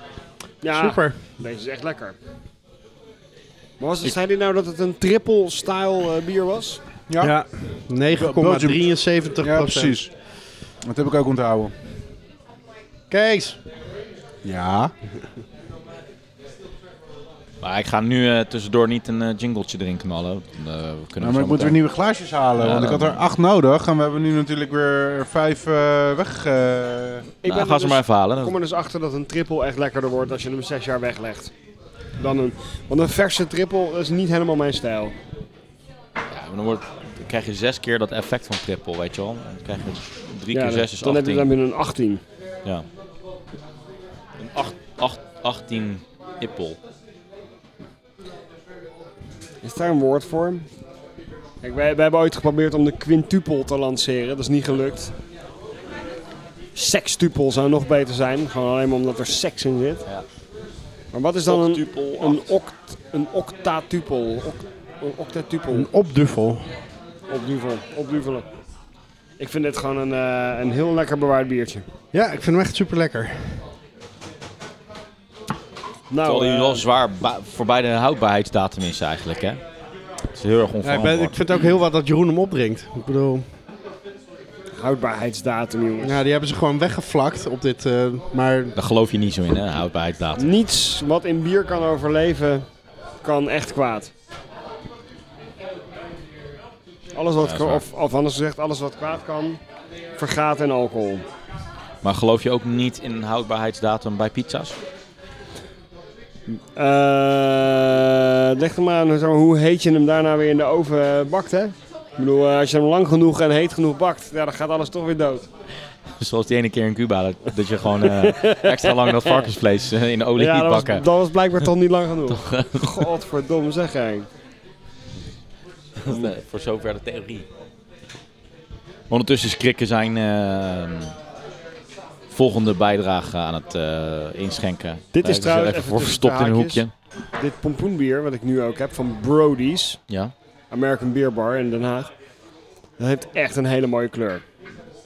Ja,
Super.
deze is echt lekker. Maar was het, zei hij nou dat het een triple-style eh, bier was?
Ja,
Ja, 9,73
Ja, precies. Dat heb ik ook onthouden.
Kees.
Ja.
Maar ik ga nu eh, tussendoor niet een eh, jingletje erin knallen. want, eh, we kunnen
Nou, maar ik moet weer nieuwe glaasjes halen,
Ja,
want ik
dan-
had er acht nodig. En we hebben nu natuurlijk weer vijf eh, weg... eh,
Ik ben er
Nou, ga ze
dus-
maar even halen.
Ik kom er dus achter dat een triple echt lekkerder wordt als je hem zes jaar weglegt. Dan een, want een verse triple is niet helemaal mijn stijl.
Ja, maar dan, wordt, dan krijg je zes keer dat effect van triple, weet je wel. Dan krijg je drie
Ja,
keer
dan-
zes is
dan heb je
18.
dan binnen een 18.
Ja. Een acht, acht, 18
Nou,
ippel.
Is daar een woord voor? Kijk, wij, wij hebben ooit geprobeerd om de quintupel te lanceren. Dat is niet gelukt. Sextupel zou nog beter zijn. Gewoon alleen maar omdat er seks in zit.
Ja.
Maar wat is dan een, een, oct, een octatupel? Oc, een octatupel.
Een opduffel.
Opduvelen. Opduvelen. Ik vind dit gewoon een, eh, een heel lekker bewaard biertje.
Ja, ik vind hem echt super lekker.
Nou,
Terwijl die
eh,
wel zwaar ba- voorbij de houdbaarheidsdatum is eigenlijk, hè. Het is heel erg
ik,
onverantwoord.
vind ook heel wat dat Jeroen hem opdringt. Ik bedoel,
houdbaarheidsdatum, jongens.
ja, die hebben ze gewoon weggevlakt op dit. eh, maar
Daar geloof je niet zo in, hè, houdbaarheidsdatum.
Niets wat in bier kan overleven, kan echt kwaad. Alles wat,
Ja,
kan-
is waar.
of, of anders gezegd, alles wat kwaad kan, vergaat in alcohol.
Maar geloof je ook niet in een houdbaarheidsdatum bij pizza's?
Eh leg er maar aan zeg maar, hoe heet je hem daarna weer in de oven eh, bakt, hè? Ik bedoel, eh, als je hem lang genoeg en heet genoeg bakt, ja, dan gaat alles toch weer dood.
Zoals die ene keer in Cuba, dat, dat je gewoon eh, extra lang dat varkensvlees eh, in de olie
ja,
liet
dat was,
bakken. eh.
dat was blijkbaar toch niet lang genoeg. Godverdomme, zeg jij.
Nee, voor zover de theorie. Ondertussen is Krikken zijn eh, volgende bijdrage aan het eh, inschenken.
Dit is
Eh,
trouwens
even
even
voor
tussen de
verstopt in een
haakjes.
hoekje.
Dit pompoenbier, wat ik nu ook heb, van Brody's.
Ja.
American Beer Bar in Den Haag. Dat heeft echt een hele mooie kleur.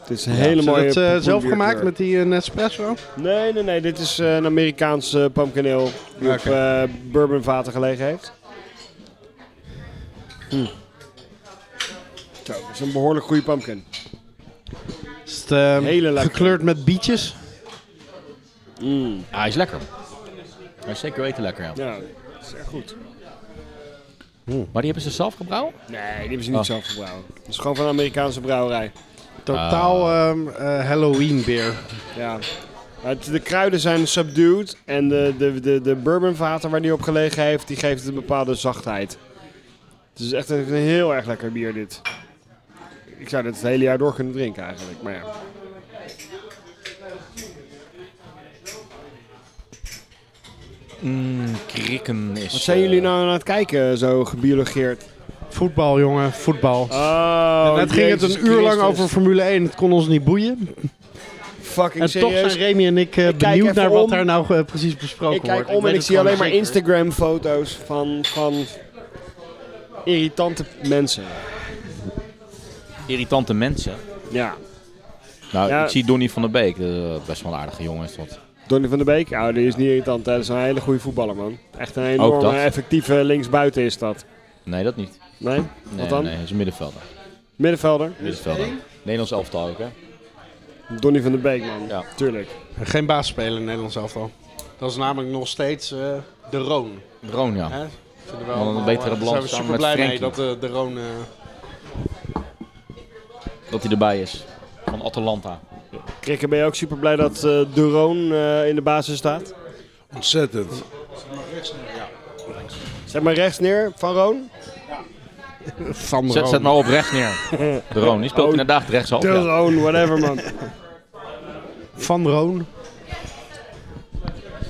Het is een hele
Hele
mooie.
het eh, zelf
pompoenbierkleur.
gemaakt met die eh, Nespresso?
Nee, nee, nee. Dit is eh, een Amerikaanse pumpkin ale die op eh bourbonvaten gelegen heeft. Hm. Zo, dat is een behoorlijk goede pumpkin.
Is het, eh,
Hele lekker.
gekleurd met bietjes?
Ah, hij is lekker. Hij is zeker weten lekker, ja.
Ja, dat is echt goed.
Maar die hebben ze zelf gebrouwen?
Nee, die hebben ze
Ah.
niet zelf gebrouwen. Dat is gewoon van een Amerikaanse brouwerij.
Totaal ehm, eh, Halloween beer.
Ja. Maar het- De kruiden zijn subdued en de, de, de, de bourbonvaten waar die op gelegen heeft, die geeft het een bepaalde zachtheid. Het is echt een, een heel erg lekker bier dit. Ik zou dit het hele jaar door kunnen drinken eigenlijk, maar ja.
Krikken is...
Dus,
eh,
Wat zijn
eh,
jullie nou aan het kijken, zo gebiologeerd?
Voetbal, jongen, voetbal.
Oh,
Net ging het een uur lang over Formule 1. Het kon ons niet boeien.
fucking
en toch zijn Remy en ik eh,
Ik kijk
benieuwd
even
naar wat
om.
daar nou eh, precies besproken
ik kijk
wordt.
om en
weet
ik
het
zie
gewoon
alleen maar
zeker.
Instagram-foto's van, van irritante mensen.
Irritante mensen.
Ja.
Nou,
Ja.
ik zie Donny van der Beek. eh, best wel een aardige jongen is dat.
Donny van der Beek, nou, die is niet irritant. hè. Dat is een hele goede voetballer, man. Echt een
Ook
enorme
dat.
effectieve linksbuiten is dat.
Nee, dat niet.
Nee?
Nee,
Wat dan?
Nee, hij is een middenvelder.
Middenvelder?
middenvelder. Nederlands elftal ook, hè?
Donny van der Beek, man.
Ja.
Tuurlijk.
Geen basisspeler in Nederland elftal. Dat is namelijk nog steeds eh, de Roon.
Roon, ja.
Hè? Vinden we
een
allemaal,
betere
eh,
balans
zijn we
samen
super
met
blij mee dat
Frenkie.
eh, de Roon... eh,
Dat hij erbij is. Van Atalanta.
Krikken, ben je ook super blij dat eh De Roon eh, in de basis staat?
Ontzettend.
Zet maar rechts neer, Van Roon.
van de
Zet,
Roon.
zet maar op rechts neer. De Roon, die speelt
Oh,
inderdaad rechtsaf.
De
Ja.
Roon, whatever, man.
Van Roon.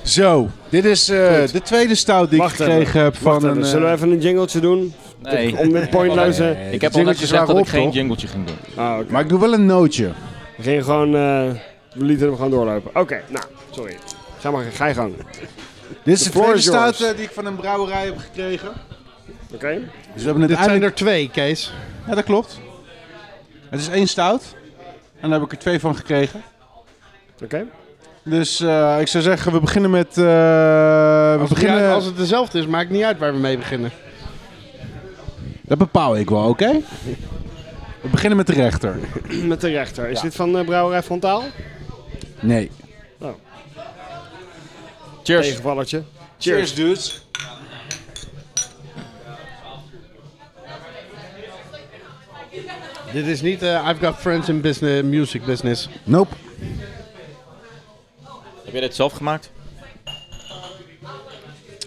Zo, dit is eh, de tweede stout die ik
Wacht even.
gekregen heb van
Wacht even,
een... eh,
Zullen we even een jingletje doen?
Oh, Nee.
Om dit
Oh,
pointloze... Nee.
Ik heb al net
Jingeltjes
gezegd
waren
dat ik
op,
geen
toch?
jingletje ging doen.
Ah, oké.
Maar ik doe wel een nootje.
We gingen gewoon... eh, we lieten hem gewoon doorlopen. Oké, nou, sorry. Ga maar, ga je gang. Oké?
Dit is
The
de,
floor
tweede
is yours.
stout eh, die ik van een brouwerij heb gekregen. Dus we hebben
Dit zijn
uiteindelijk...
er twee, Kees.
Ja, dat klopt. Het is één stout. En daar heb ik er twee van gekregen.
Oké?
Dus eh, ik zou zeggen, we beginnen met eh, we
Als het, niet
beginnen...
uit- als het dezelfde is, maakt niet uit waar we mee beginnen.
Dat bepaal ik wel, oké? We beginnen met de rechter.
Met de rechter. Is dit van eh, Brouwerij Frontaal?
Nee.
Cheers.
Tegenvallertje.
Cheers, dudes.
Dit is niet eh, I've Got Friends in business, Music Business.
Nope.
Heb jij dit zelf gemaakt?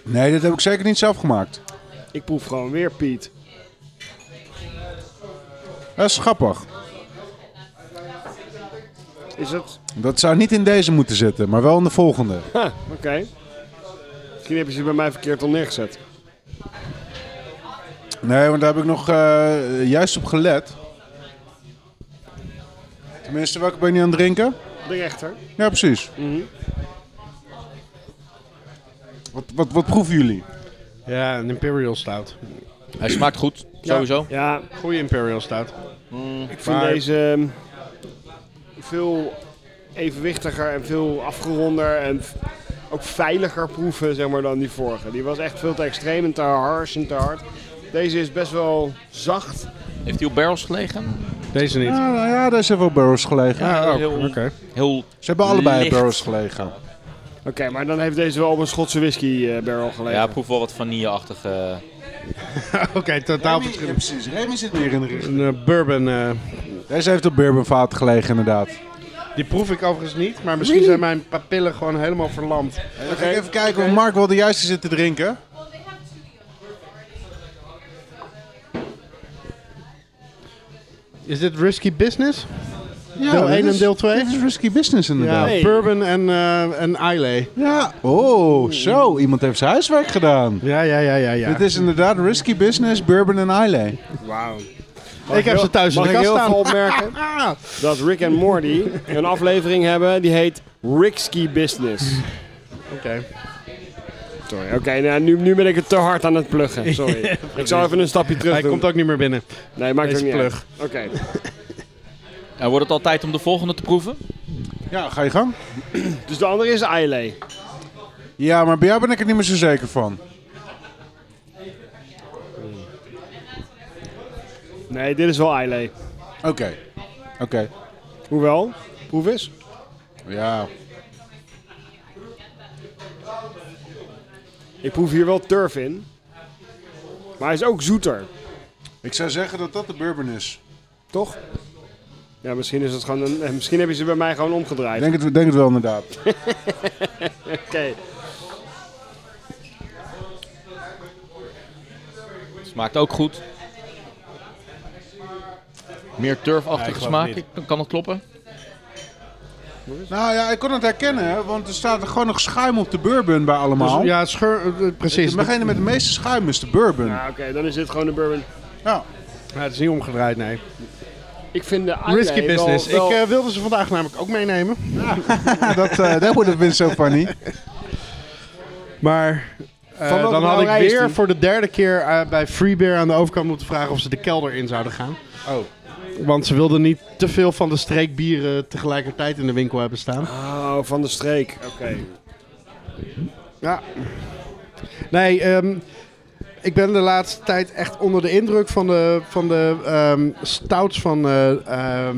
Nee, dit heb ik zeker niet zelf gemaakt.
Ik proef gewoon weer Piet.
Dat is grappig.
Is het?
Dat zou niet in deze moeten zitten, maar wel in de volgende.
Ha, oké. Misschien hebben ze het bij mij verkeerd al neergezet.
Nee, want daar heb ik nog eh, juist op gelet. Tenminste, welke ben je nu aan het drinken?
De rechter.
Ja, precies.
Mhm.
Wat, wat, wat proeven jullie?
Ja, een Imperial Stout.
Hij smaakt goed, sowieso.
Ja,
Goeie Imperial Stout.
ik vind deze ehm, veel evenwichtiger en veel afgeronder en f- ook veiliger proeven zeg maar, dan die vorige. Die was echt veel te extreem en te harsh en te hard. Deze is best wel zacht.
Heeft hij op barrels gelegen?
Deze niet.
Ja, nou ja, daar is even op barrels gelegen.
Ja,
ook.
heel,
Ah. Oké.
heel
Ze hebben allebei op
licht.
barrels gelegen.
Oké, maar dan heeft deze wel op een Schotse whisky eh, barrel gelegen.
Ja, proef wel wat vanille-achtige.
Oké, totaal verschil.
precies. Remy zit meer in de richting.
Een eh, bourbon. eh,
Deze heeft op bourbonvaat gelegen, inderdaad.
die proef ik overigens niet, maar misschien zijn mijn papillen gewoon helemaal verlamd.
Dan ga ik even kijken, want Mark wil de juiste zitten drinken.
Is dit risky business?
Ja,
Deel
dit
één en
is-
deel twee?
Dit is risky business
Ja,
inderdaad. Ja.
Hey.
bourbon en, eh en Islay.
Oh, zo. Iemand heeft zijn huiswerk gedaan.
Ja, ja, ja, ja. ja.
Dit is inderdaad risky business, bourbon en Islay.
ik heb ze thuis in
Mag
de
ik heel
kast staan. Ah.
veel opmerken dat Rick en Morty een aflevering hebben die heet Ricksky Business.
Oh, Oké.
Sorry, oké, nou, nu, nu ben ik het te hard aan het pluggen. Sorry. ik zal even een stapje terug
Hij
doen.
komt ook niet meer binnen.
Nee, maakt ook
Deze
niet uit.
plug.
Oké.
En wordt het al tijd om de volgende te proeven?
Ja, ga je gang.
Dus de andere is Islay.
Ja, maar bij jou ben ik er niet meer zo zeker van.
Nee, dit is wel Islay.
Oké. Oké.
Hoewel, proef eens.
Ja.
Ik proef hier wel turf in. Maar hij is ook zoeter,
Ik zou zeggen dat dat de bourbon is.
toch? Ja, misschien, is het gewoon een, eh, misschien heb je ze bij mij gewoon
Ik
omgedraaid.
denk het, denk het wel inderdaad.
Oké.
Smaakt ook goed. Meer turfachtige smaak, Ik- kan dat kloppen?
nou ja, ik kon het herkennen, hè, want er staat er gewoon nog schuim op de bourbon bij allemaal.
ja, scheur, eh, precies.
Degene met de meeste schuim is de bourbon. Ja.
Nou, oké, dan is dit gewoon een bourbon.
Ja, het is niet omgedraaid, nee.
Ik vind de Islay
Risky
Ah, wel-
business.
wel-
Ik eh, wilde ze vandaag namelijk ook meenemen.
dat eh that would have been so funny.
Maar eh,
Van welke
dan had ik
brouwerij is
weer
die?
voor de derde keer eh, bij Freebeer aan de overkant moeten vragen of ze de kelder in zouden gaan. Oh. Want ze wilden niet te veel van de streekbieren tegelijkertijd in de winkel hebben staan.
Oh, van de streek. Oké.
Ja. Nee, ehm, ik ben de laatste tijd echt onder de indruk van de, van de ehm, stouts van, eh, ehm,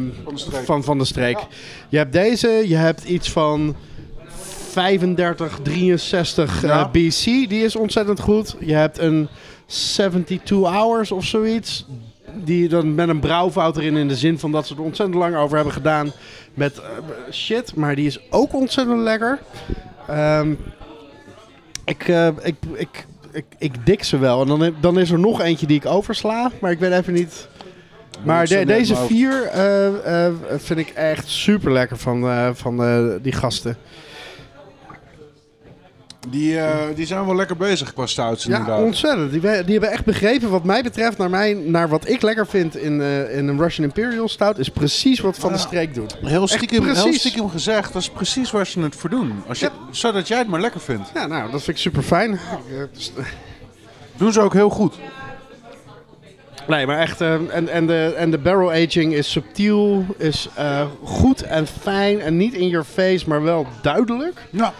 van Van de Streek. Je hebt deze, je hebt iets van 35, 63 eh,
Ja.
BC, die is ontzettend goed. Je hebt een 72 hours of zoiets. Die dan met een brouwfout erin in de zin van dat ze er ontzettend lang over hebben gedaan met eh, shit. Maar die is ook ontzettend lekker. Ehm, ik, eh, ik, ik, ik, ik dik ze wel. En dan, dan is er nog eentje die ik oversla. Maar ik weet even niet. Maar
ik zo
de-
net
deze
maar over.
vier eh, eh, vind ik echt super lekker van, eh, van eh, die gasten.
Die, eh, die zijn wel lekker bezig qua stouts inderdaad.
Ja, ontzettend. Die, we- die hebben echt begrepen, wat mij betreft, naar, mij, naar wat ik lekker vind in, eh, in een Russian Imperial Stout, is precies wat Van de Streek doet.
Heel stiekem,
precies.
heel stiekem gezegd, dat is precies waar ze het voor doen. Als je, Zodat jij het maar lekker vindt.
Ja, nou, dat vind ik super fijn.
Doen ze ook heel goed.
Nee, maar echt. eh, en, en, de, en de barrel aging is subtiel, is eh, goed en fijn en niet in your face, maar wel duidelijk.
Ja.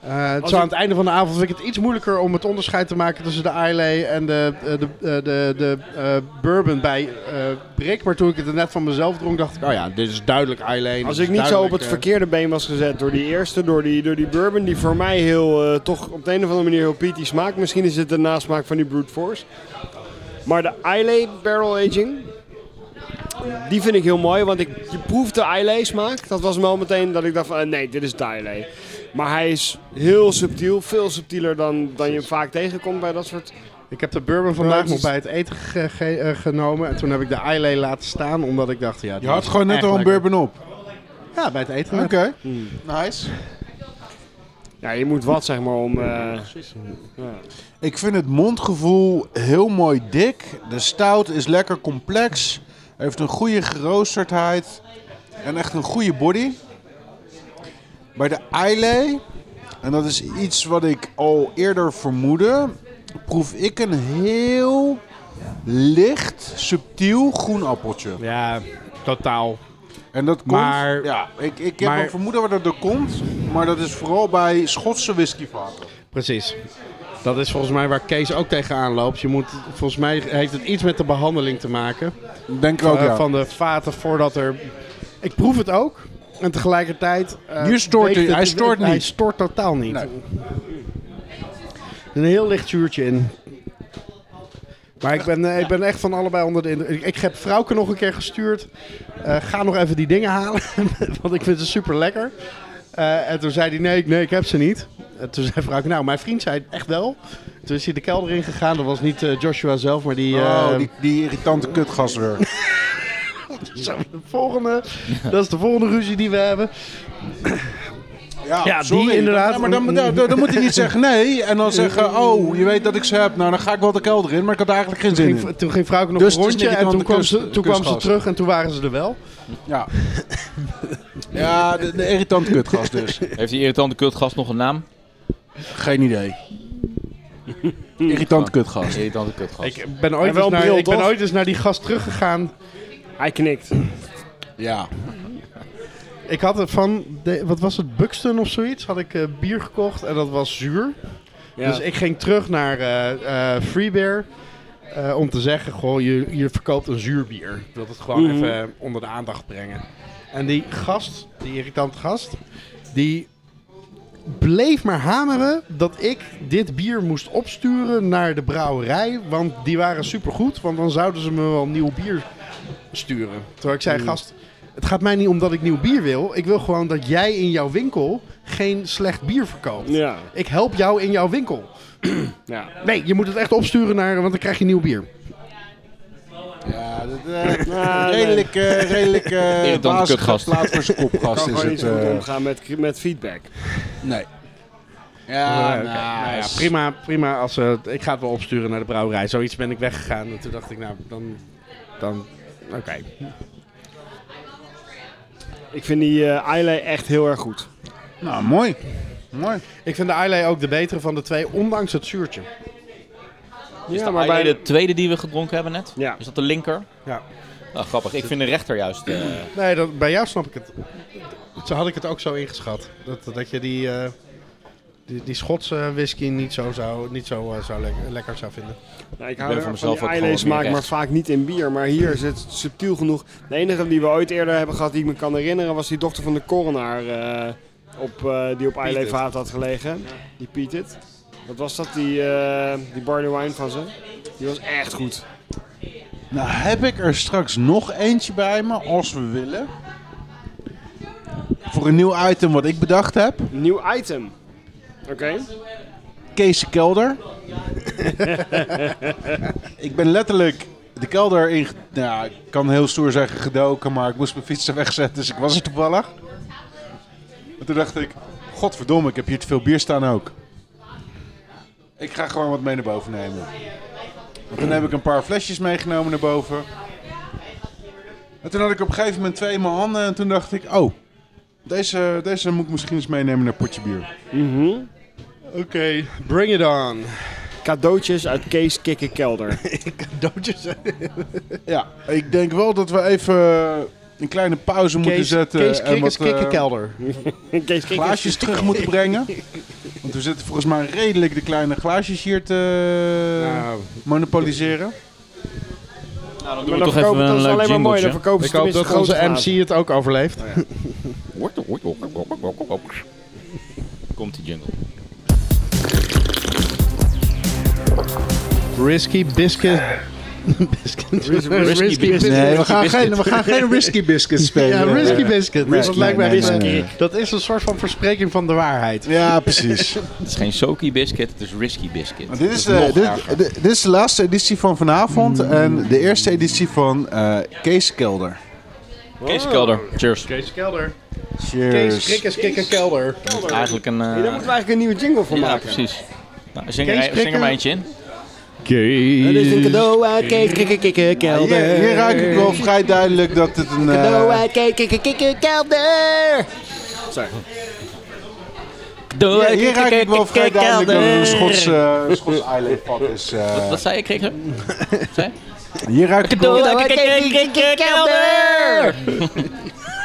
Eh,
Als
zo aan
ik-
het einde van de avond vind ik het iets moeilijker om het onderscheid te maken tussen de ILA en de, eh, de, eh, de, de eh, bourbon bij eh Brik. Maar toen ik het er net van mezelf dronk, dacht ik, oh ja, dit is duidelijk ILA. dit
Als
is
ik niet zo op
duidelijk,
het
eh,
verkeerde been was gezet door die eerste, door die, door die bourbon, die voor mij heel, eh, toch op de een of andere manier heel peaty smaakt. Misschien is het de nasmaak van die Brute Force. Maar de Islay Barrel Aging, die vind ik heel mooi, want ik, je proeft de Islay smaak. Dat was wel meteen dat ik dacht van, eh, nee, dit is de Islay. Maar hij is heel subtiel, veel subtieler dan, dan je hem vaak tegenkomt bij dat soort...
Ik heb de bourbon vandaag
het is-
nog bij het eten ge- ge- eh, genomen. En toen heb ik de ILA laten staan, omdat ik dacht, ja... dit
Je had
is
gewoon net
echt
al een
lekker.
bourbon op.
Ja, bij het eten.
Oké.
net.
Nice.
Ja, je moet wat, zeg maar, om... eh,
Ik vind het mondgevoel heel mooi dik. De stout is lekker complex. Heeft een goede geroosterdheid. En echt een goede body. Bij de Islay, en dat is iets wat ik al eerder vermoedde, proef ik een heel licht, subtiel groen appeltje.
Ja, totaal.
En dat komt,
Maar-
ja, ik, ik heb
maar-
een vermoeden waar dat er komt, maar dat is vooral bij Schotse whiskyvaten.
Precies. Dat is volgens mij waar Kees ook tegenaan loopt. Je moet, volgens mij heeft het iets met de behandeling te maken.
Denk ik ook,
eh,
ja.
Van de vaten voordat er... Ik proef het ook. En tegelijkertijd... eh,
Hier stoort
weegt
hij.
het-
Hij stoort
Hij
niet.
stoort totaal niet.
Nee.
Een heel licht zuurtje in. Maar ik ben, eh, ik ben echt van allebei onder de indruk. Ik, ik heb Frauke nog een keer gestuurd. Eh, ga nog even die dingen halen. want ik vind ze super lekker. Eh, en toen zei hij: nee, ik- nee, ik heb ze niet. En toen zei Frauke: Nou, mijn vriend zei echt wel. Toen is hij de kelder ingegaan. Dat was niet eh, Joshua zelf, maar die.
Oh,
eh,
die, die irritante kutgasser.
zo, de volgende. dat is de volgende ruzie die we hebben.
Ja,
Ja, die inderdaad.
Ja, maar dan, dan, dan- dan moet hij niet zeggen nee. En dan zeggen, oh, je weet dat ik ze heb. Nou, dan ga ik wel de kelder in, maar ik had er eigenlijk geen zin
Ging,
in.
toen ging Frauke nog
Dus
een
het is
rondje.
niet
En
aan
toen
de
kwam,
kust-
ze, toen kwam ze
kustgast.
terug en toen waren ze er wel.
Ja, ja de, de irritante kutgas dus.
Heeft die irritante kutgast nog een naam?
Geen idee. Irritant kutgas.
Irritante kutgast.
Ik ben ooit,
wel
eens naar,
bril,
ik ben
toch?
ooit eens naar die gast teruggegaan.
hij knikt.
Ja.
Ik had er van, de- wat was het, Buxton of zoiets, had ik eh, bier gekocht en dat was zuur.
Ja.
Dus ik ging terug naar eh eh Free Beer eh, om te zeggen, goh, je, je verkoopt een zuur bier. Ik wil het gewoon
Mhm.
even eh, onder de aandacht brengen. En die gast, die irritante gast, die bleef maar hameren dat ik dit bier moest opsturen naar de brouwerij. Want die waren supergoed, want dan zouden ze me wel nieuw bier sturen. Terwijl ik
Mhm.
zei, gast, het gaat mij niet om dat ik nieuw bier wil. Ik wil gewoon dat jij in jouw winkel geen slecht bier verkoopt.
Ja,
Ik help jou in jouw winkel.
ja.
Nee, je moet het echt opsturen naar, want dan krijg je nieuw bier.
Ja, dat, eh, redelijk, eh redelijk eh
Irritante
bazige
kutgast.
plaat voor zijn kopgast
kan
is
gewoon niet
het.
zo goed
eh,
omgaan met, met feedback.
nee. Ja,
Eh, oké. Nou ja, prima, prima. Als, eh, ik ga het wel opsturen naar de brouwerij. Zoiets ben ik weggegaan. En toen dacht ik, nou, dan... dan Oké.
Ik vind die eh Islay echt heel erg goed.
Nou, mooi. Mooi.
Ik vind de Islay ook de betere van de twee, ondanks het zuurtje.
Is
Ja,
dat
maar bij-
de tweede die we gedronken hebben net?
Ja.
Is dat de linker?
Ja.
Ah,
Nou, grappig. Ik vind de rechter juist. eh,
Nee, dat, bij jou snap ik het. Zo had ik het ook zo ingeschat. Dat, dat je die, eh, die, die Schotse whisky niet zo, zou, niet zo, eh, zou lek- lekker zou vinden.
Nou, ik
ben
hou erg
voor
van
mezelf
die
ook gewoon
Islay
wat meer
smaak, maar
rechts.
vaak niet in bier. Maar hier is het subtiel genoeg. De enige die we ooit eerder hebben gehad die ik me kan herinneren... was die dochter van de coroner eh, op, eh, die op Islay
Pieted.
vaat had gelegen. Die Piet it. Wat was dat, die, eh, die barley wine van ze? Die was echt goed.
Nou, heb ik er straks nog eentje bij me, als we willen. Voor een nieuw item wat ik bedacht heb.
Nieuw item. Oké.
Kees de Kelder. ik ben letterlijk de kelder in... Nou, ik kan heel stoer zeggen gedoken, maar ik moest mijn fiets er wegzetten, dus ik was er toevallig. En toen dacht ik, godverdomme, ik heb hier te veel bier staan ook. Ik ga gewoon wat mee naar boven nemen. En toen heb ik een paar flesjes meegenomen naar boven. En toen had ik op een gegeven moment twee in mijn handen en toen dacht ik, oh, deze, deze moet ik misschien eens meenemen naar potje bier.
Oké, bring it on.
Cadeautjes uit Kees Kikken Kelder.
Doodjes.
Ja, ik denk wel dat we even een kleine pauze moeten
Kees,
zetten.
Kees
en
Krikkers
wat eh,
Kikkenkelder.
Kees Kikken.
glaasjes terug moeten brengen. we zitten volgens mij redelijk de kleine glaasjes hier te
Nou,
monopoliseren.
dan
we toch
verkopen
even
ze
een leuk
alleen maar mooi.
jingletje.
Dan verkopen
ik
ze
hoop
tenminste
dat onze
grote
MC het ook overleeft.
Komt die jingle.
Risky biscuit. biscuit.
Risky
biscuit.
Nee,
we gaan, geen, we gaan geen risky.
Risky Biscuit
Ja,
spelen.
risky biscuit.
Nee,
dat
nee,
lijkt mij
nee,
echt een-
nee, nee.
Dat is een soort van verspreking van de waarheid.
Ja, precies.
Het is geen Soaky biscuit, het is Risky biscuit.
Maar dit, is de, dit, dit- dit is de laatste editie van vanavond
Mm.
en de eerste editie van eh Kees Kelder.
Kees Kelder, cheers.
Kees Kelder. Kees
Cheers.
Krikkes Kikker Kelder.
Eigenlijk een... eh,
Ja, daar moeten we eigenlijk een nieuwe jingle voor
ja,
maken.
precies. Nou, zing,
Kees
er, zing er
Krikker.
maar eentje in.
Dat is een cadeau uit Kees Kikker Kikker
Hier,
Kelder.
hier ruik ik wel vrij duidelijk dat het een... eh,
Cadeau uit Kees Kikker Kikker Kelder. Sorry.
hier, hier ruik ik wel vrij duidelijk dat het een Schots, eh Schots eilandpad is. eh.
Wat zei je, Krikker?
Hier ruik ik wel...
Cadeau eh, uit Kees Kikker Kikker Kelder.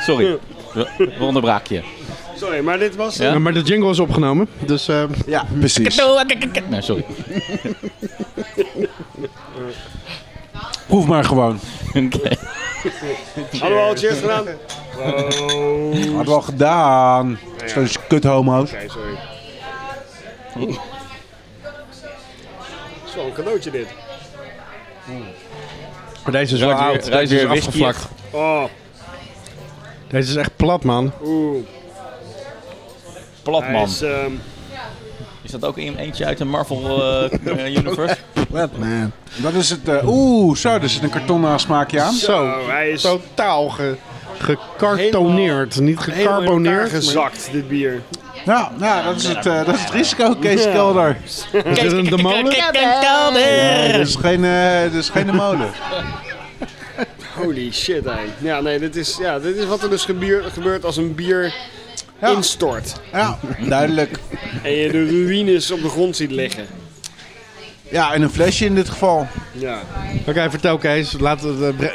Sorry, we we onderbraken je.
Sorry, maar dit was...
Ja?
Maar de jingle is opgenomen. Dus eh,
Ja, precies.
Nee, sorry.
Proef maar gewoon.
Oké.
Hadden we al cheers gedaan?
Hadden we al gedaan. Zoals je kut homo's.
Nee, sorry. Het is wel een cadeautje dit.
maar deze is wel
Ruikt weer-
oud.
ruikt
Deze is
weer whisky.
afgevlakt.
Oh,
Deze is echt plat, man.
oeh. Hij
Platman.
is, ehm,
Is dat ook een- eentje uit de Marvel eh, eh, Universe?
Man. Dat is het... eh, Oeh, zo, er zit een kartonnen smaakje aan.
Zo.
oh, hij is
Totaal ge, gekartoneerd. Niet
helemaal in elkaar
gecarboneerd. maar-
gezakt, dit bier.
Nou, nou dat, is het, eh, dat is het risico, Kees Kelder.
Is dit een demolen?
Nee, dit is geen, eh, dit is geen de molen.
Holy shit, hein. Ja, nee, dit is, ja, dit is wat er dus gebier- gebeurt als een bier instort.
Ja, duidelijk.
En je de ruïnes op de grond ziet liggen.
Ja, en een flesje in dit geval.
Ja.
Oké, vertel Kees. Laten we, eh,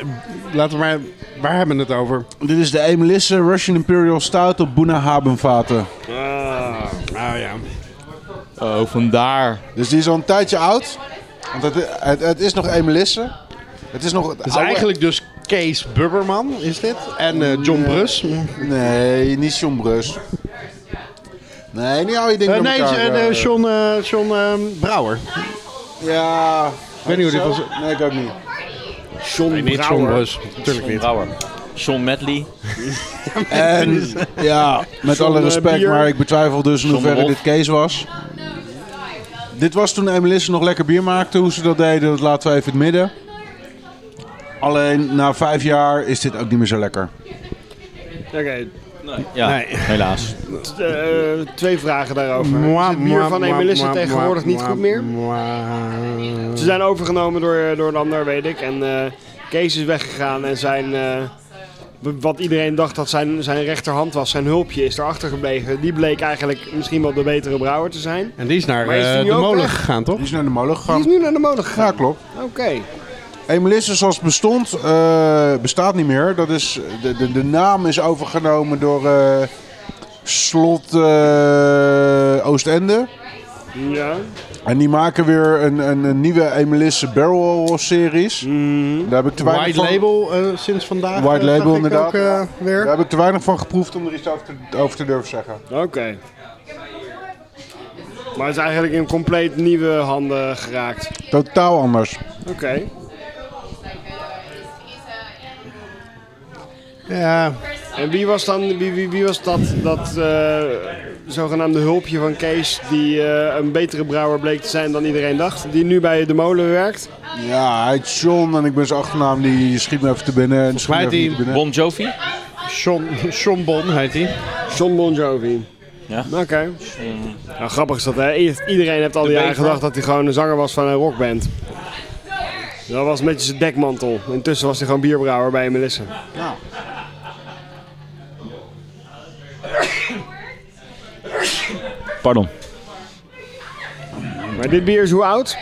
laten we maar... Waar hebben we het over?
Dit is de Emelisse Russian Imperial Stout op Buna Habenvaten.
Ah.
Nou ja.
Oh, vandaar.
Dus die is al een tijdje oud. Want het, het, het is nog Emelisse. Het is nog het
Het is
oude-
eigenlijk dus Kees Bubberman, is dit? En eh, John Brus.
Nee, niet John Brus. Nee, niet al je dingen
Eh,
door
nee,
elkaar,
eh,
eh.
eh, John, eh, John eh, Brouwer.
Ja...
weet niet hoe dit
Zo?
was.
Nee, ik ook niet.
John
Niet John
Brouwer.
Brus. Natuurlijk
John
niet.
Brouwer. John Medley.
En ja, met
John,
alle
eh,
respect,
bier.
maar ik betwijfel dus in hoeverre
Wolf.
dit Kees was. Dit was toen Emelisse nog lekker bier maakte. Hoe ze dat deden, dat laten we even in het midden. Alleen na vijf jaar is dit ook niet meer zo lekker.
Oké,
Ja,
Nee.
helaas.
t- eh, twee vragen daarover.
Mwah,
is het bier
mwah,
van
mwah,
Emelisse
mwah,
tegenwoordig
mwah,
niet goed meer?
mwah.
Ze zijn overgenomen door, door een ander, weet ik. En eh, Kees is weggegaan en zijn... eh, wat iedereen dacht dat zijn, zijn rechterhand was, zijn hulpje, is erachter gebleven. Die bleek eigenlijk misschien wel de betere brouwer te zijn.
En die is naar
Maar is die
eh,
nu
de
ook
molen
weg?
gegaan, toch?
Die is naar de molen
Die is
gegaan.
nu naar de molen gegaan.
Ja, klopt.
Oké.
Emelisse zoals het bestond, eh, bestaat niet meer. Dat is, de, de, de naam is overgenomen door eh, Slot eh, Oostende.
Ja.
En die maken weer een, een, een nieuwe Emelisse Barrel Series. Daar heb ik te weinig
White
van-
label eh, sinds vandaag.
White
eh, zag
label,
ik
inderdaad.
Ook, eh, weer.
Daar heb ik te weinig van geproefd om er iets over te, over te durven zeggen.
Oké. Maar het is eigenlijk in compleet nieuwe handen geraakt.
Totaal anders.
Oké.
Ja,
En wie was dan wie, wie, wie was dat, dat eh, zogenaamde hulpje van Kees die eh, een betere brouwer bleek te zijn dan iedereen dacht? Die nu bij de molen werkt?
Ja, hij heet John en ik ben zijn achternaam, die schiet me even te binnen. en schiet me
mij
even
die
niet te binnen.
Bon Jovi.
John, John Bon heet hij.
John Bon Jovi.
Ja.
Oké. Nou, grappig is dat, hè? I- Iedereen heeft al die jaren
bever.
gedacht dat hij gewoon een zanger was van een rockband. Dat was een beetje zijn dekmantel. Intussen was hij gewoon bierbrouwer bij Melissa.
Pardon.
Maar dit bier is hoe oud?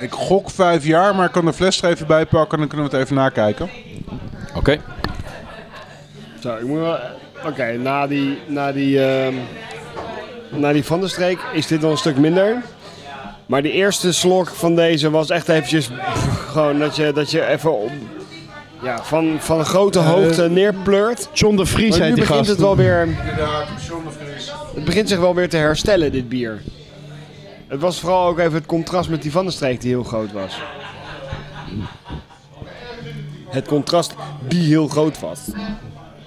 Ik gok vijf jaar, maar ik kan de fles er even bij pakken en dan kunnen we het even nakijken.
Oké.
Zo, ik moet wel... Oké, na die... Na die ehm, naar die van de streek is dit wel een stuk minder. Maar die eerste slok van deze was echt eventjes pff, gewoon dat je, dat je even op, ja, van, van een grote hoogte neerpleurt.
John de Vries
Maar nu
heet die
begint
gast.
het wel weer. Het begint zich wel weer te herstellen, dit bier. Het was vooral ook even het contrast met die van de streek die heel groot was. Het contrast die heel groot was.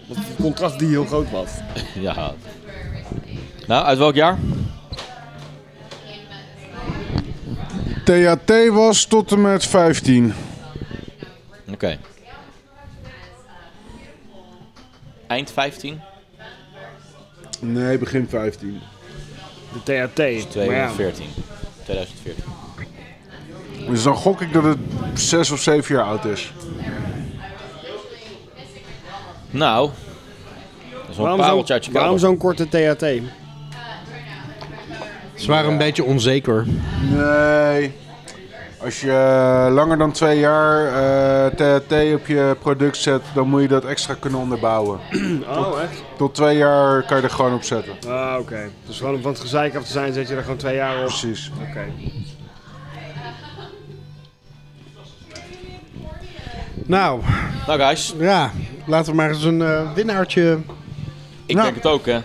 Want Het contrast die heel groot was.
Ja. Nou, uit welk jaar?
THT was tot en met 15.
Oké. Eind 15?
Nee, begin 15.
De THT. Maar ja,
2014. 2014.
Dus dan gok ik dat het 6 of 7 jaar oud is.
Nou. Dat is wel een
waarom
pareltje uit
zo'n
je
waarom
kelder.
zo'n korte THT?
Ze waren een beetje onzeker.
Nee. Als je eh, langer dan 2 jaar eh, THT op je product zet, dan moet je dat extra kunnen onderbouwen.
Oh, echt?
Tot 2 jaar kan je er gewoon op zetten.
Ah, oké. Dus gewoon om van het gezeik af te zijn, zet je er gewoon twee jaar op.
Precies.
Oké.
Nou,
Nou, guys.
ja. Laten we maar eens een eh, winnaartje
Ik
Nou.
denk het ook, hè.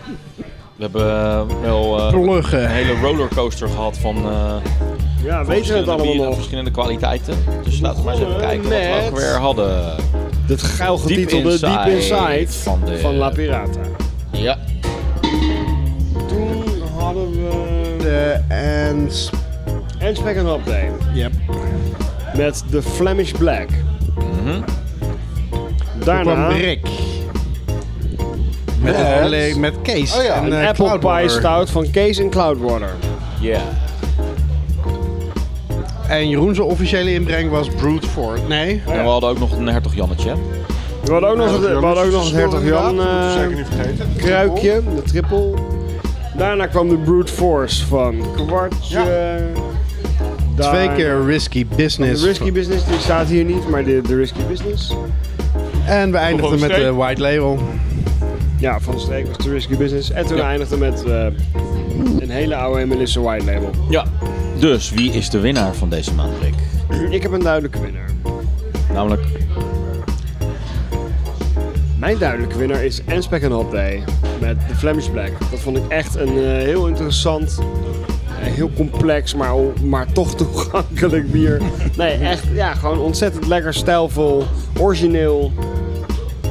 We hebben eh, wel eh, een
pluggen.
hele rollercoaster gehad van... eh,
Ja,
Weet
weten we het allemaal nog? Eh,
verschillende kwaliteiten. Dus laten we maar eens even
Begonnen
kijken wat we
met-
ook weer hadden.
Dit geil getitelde
Deep
Deep Inside
van
van,
de-
La Pirata.
Ja.
Toen hadden we...
De en...
En Spec and Hop Day.
Yep.
Met de Flemish Black.
Daarna...
Daarna
Brick. Met,
Met-
met, met Kees.
Oh ja,
en,
een
eh,
Apple Pie
Cloudwater.
Stout van Kees en Cloudwater.
Ja.
En Jeroen's officiële inbreng was Brute Fort. Nee?
En we hadden ook nog een hertog Jannetje. hè?
We hadden ook nog, het- we hadden eh, ook nog het Hertog Jan eh,
zeker niet vergeten.
kruikje, de triple. Daarna kwam de Brute Force van Kwartje.
Twee
Daarna-
keer Risky
De
Business.
Risky Business, die staat hier niet, maar de, de Risky Business.
En we eindigden met de
steek.
White Label.
Ja, van de streek was de Risky Business. En toen eindigde met eh, een hele oude Melissa White label.
Ja. Dus wie is de winnaar van deze maand, Rick?
Ik heb een duidelijke winnaar.
Namelijk
Mijn duidelijke winnaar is Anspec Hop Day met de Flemish Black. Dat vond ik echt een eh, heel interessant, eh, heel complex, maar, maar toch toegankelijk bier. Nee, echt, ja, gewoon ontzettend lekker stijlvol, origineel.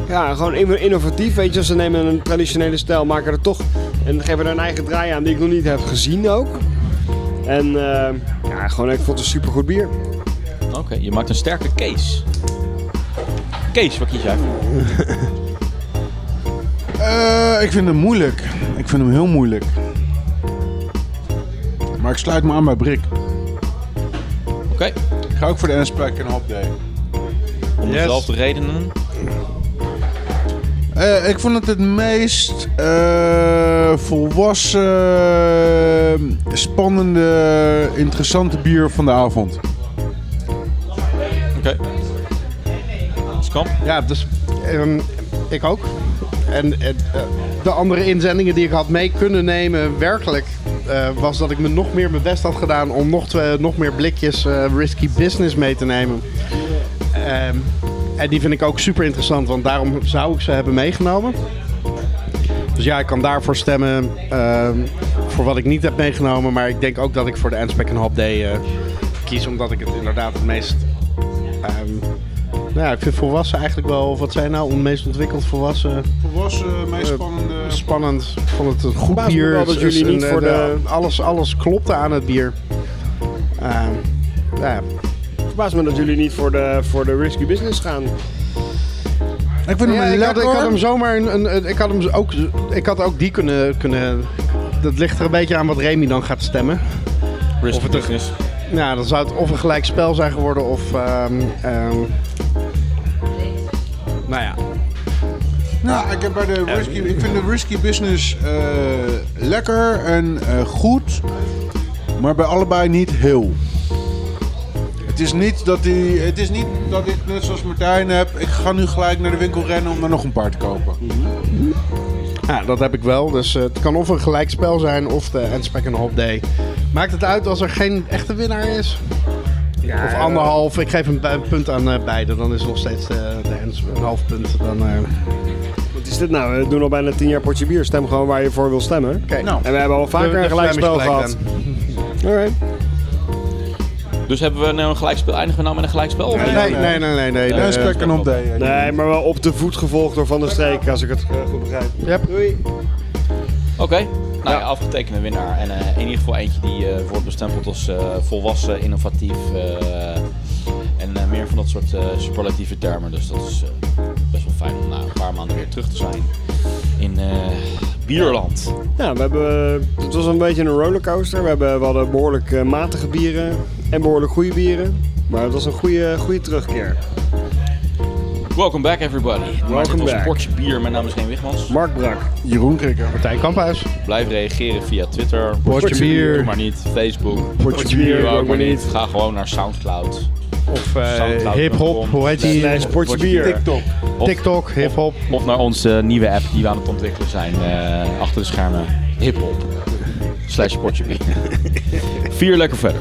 Ja, gewoon in- innovatief, weet je. wel. Ze nemen een traditionele stijl, maken er toch en geven er een eigen draai aan die ik nog niet heb gezien ook. En eh, ja, gewoon, ik vond het een supergoed bier.
Oké, je maakt een sterke case. Kees, wat kies jij?
Eh, ik vind hem moeilijk. Ik vind hem heel moeilijk. Maar ik sluit me aan bij Brik.
Oké.
Ik ga ook voor de N-Spec en Hop Day.
Om
Yes.
dezelfde redenen.
Eh, ik vond het het meest eh, volwassen, spannende, interessante bier van de avond.
Oké. Skamp?
Ja, dus ehm, ik ook. En eh, de andere inzendingen die ik had mee kunnen nemen, werkelijk, eh, was dat ik me nog meer mijn best had gedaan om nog, twee, nog meer blikjes eh, risky business mee te nemen. Ehm, en die vind ik ook super interessant, want daarom zou ik ze hebben meegenomen. Dus ja, ik kan daarvoor stemmen ehm, voor wat ik niet heb meegenomen. Maar ik denk ook dat ik voor de Anspec en Hop Day eh, kies, omdat ik het inderdaad het meest ehm, nou ja, ik vind volwassen eigenlijk wel, of wat zijn nou, meest ontwikkeld volwassen,
Volwassen, meest
Eh,
spannende.
spannend. Ik vond het een goed
Verbaast me
bier.
wel
Het
dat
is-
jullie
is een- eh,
niet voor de-
alles, alles klopte aan het bier. Eh, ja.
Het verbaast me dat jullie niet voor de, voor de Risky Business gaan.
Ik vind hem
Ja,
een
ik, had,
lekker.
ik had hem zomaar een, een- een- ik had hem ook, ik had ook die kunnen, kunnen, dat ligt er een beetje aan wat Remy dan gaat stemmen.
Risk
Of het een-
business.
Nou, dan zou het of een gelijk spel zijn geworden of, ehm, ehm, nou ja.
Nou, ik, heb bij de risky, ik vind de risky business eh, lekker en eh, goed, maar bij allebei niet heel. Het is niet, dat die, het is niet dat ik net zoals Martijn heb, ik ga nu gelijk naar de winkel rennen om er nog een paar te kopen.
Ja, dat heb ik wel. Dus eh, het kan of een gelijkspel zijn of de Endspec en Hop Day. Maakt het uit als er geen echte winnaar is? of anderhalf. Ik geef een, bu- een punt aan eh, beide. Dan is het nog steeds eh, de Ends een half punt. Dan, eh,
Wat is dit nou? We doen al bijna tien jaar potje bier. Stem gewoon waar je voor wil stemmen.
Oké.
En we hebben al vaker een gelijkspel gehad. Alright.
Dus hebben we nou een gelijkspel? Eindigen we nou met een gelijkspel? Of
Nee, nee, nee, nee. nee, nee. eh,
En spek en op
Nee, maar wel op de voet gevolgd door Van der Streek, als ik het eh, goed begrijp.
Yep.
Oké. Nou ja, afgetekende winnaar. En eh, in ieder geval eentje die eh, wordt bestempeld als eh, volwassen, innovatief. eh, en eh, meer van dat soort eh, superlatieve termen. Dus dat is eh, best wel fijn om na een paar maanden weer terug te zijn in eh, Bierland.
Ja, we hebben, eh, het was een beetje een rollercoaster. We, hebben, we hadden behoorlijk eh, matige bieren en behoorlijk goede bieren. Maar het was een goede, goede terugkeer.
Welcome back everybody. Maar dit
Welcome
was een
back.
portje bier. Mijn naam is Geen Wigmans.
Mark Brak.
Jeroen Krikker.
Martijn Kamphuis.
Blijf reageren via Twitter.
Potje bier.
Doe maar niet. Facebook.
Potje bier,
Doe
ook maar niet.
Ga gewoon naar Soundcloud.
Of eh,
Soundcloud.com.
hip-hop. Hoe heet die?
Slash potje bier.
TikTok. TikTok, hip-hop.
Of naar onze nieuwe app die we aan het ontwikkelen zijn. eh, achter de schermen. Hiphop. Slash potje bier. Vier lekker verder.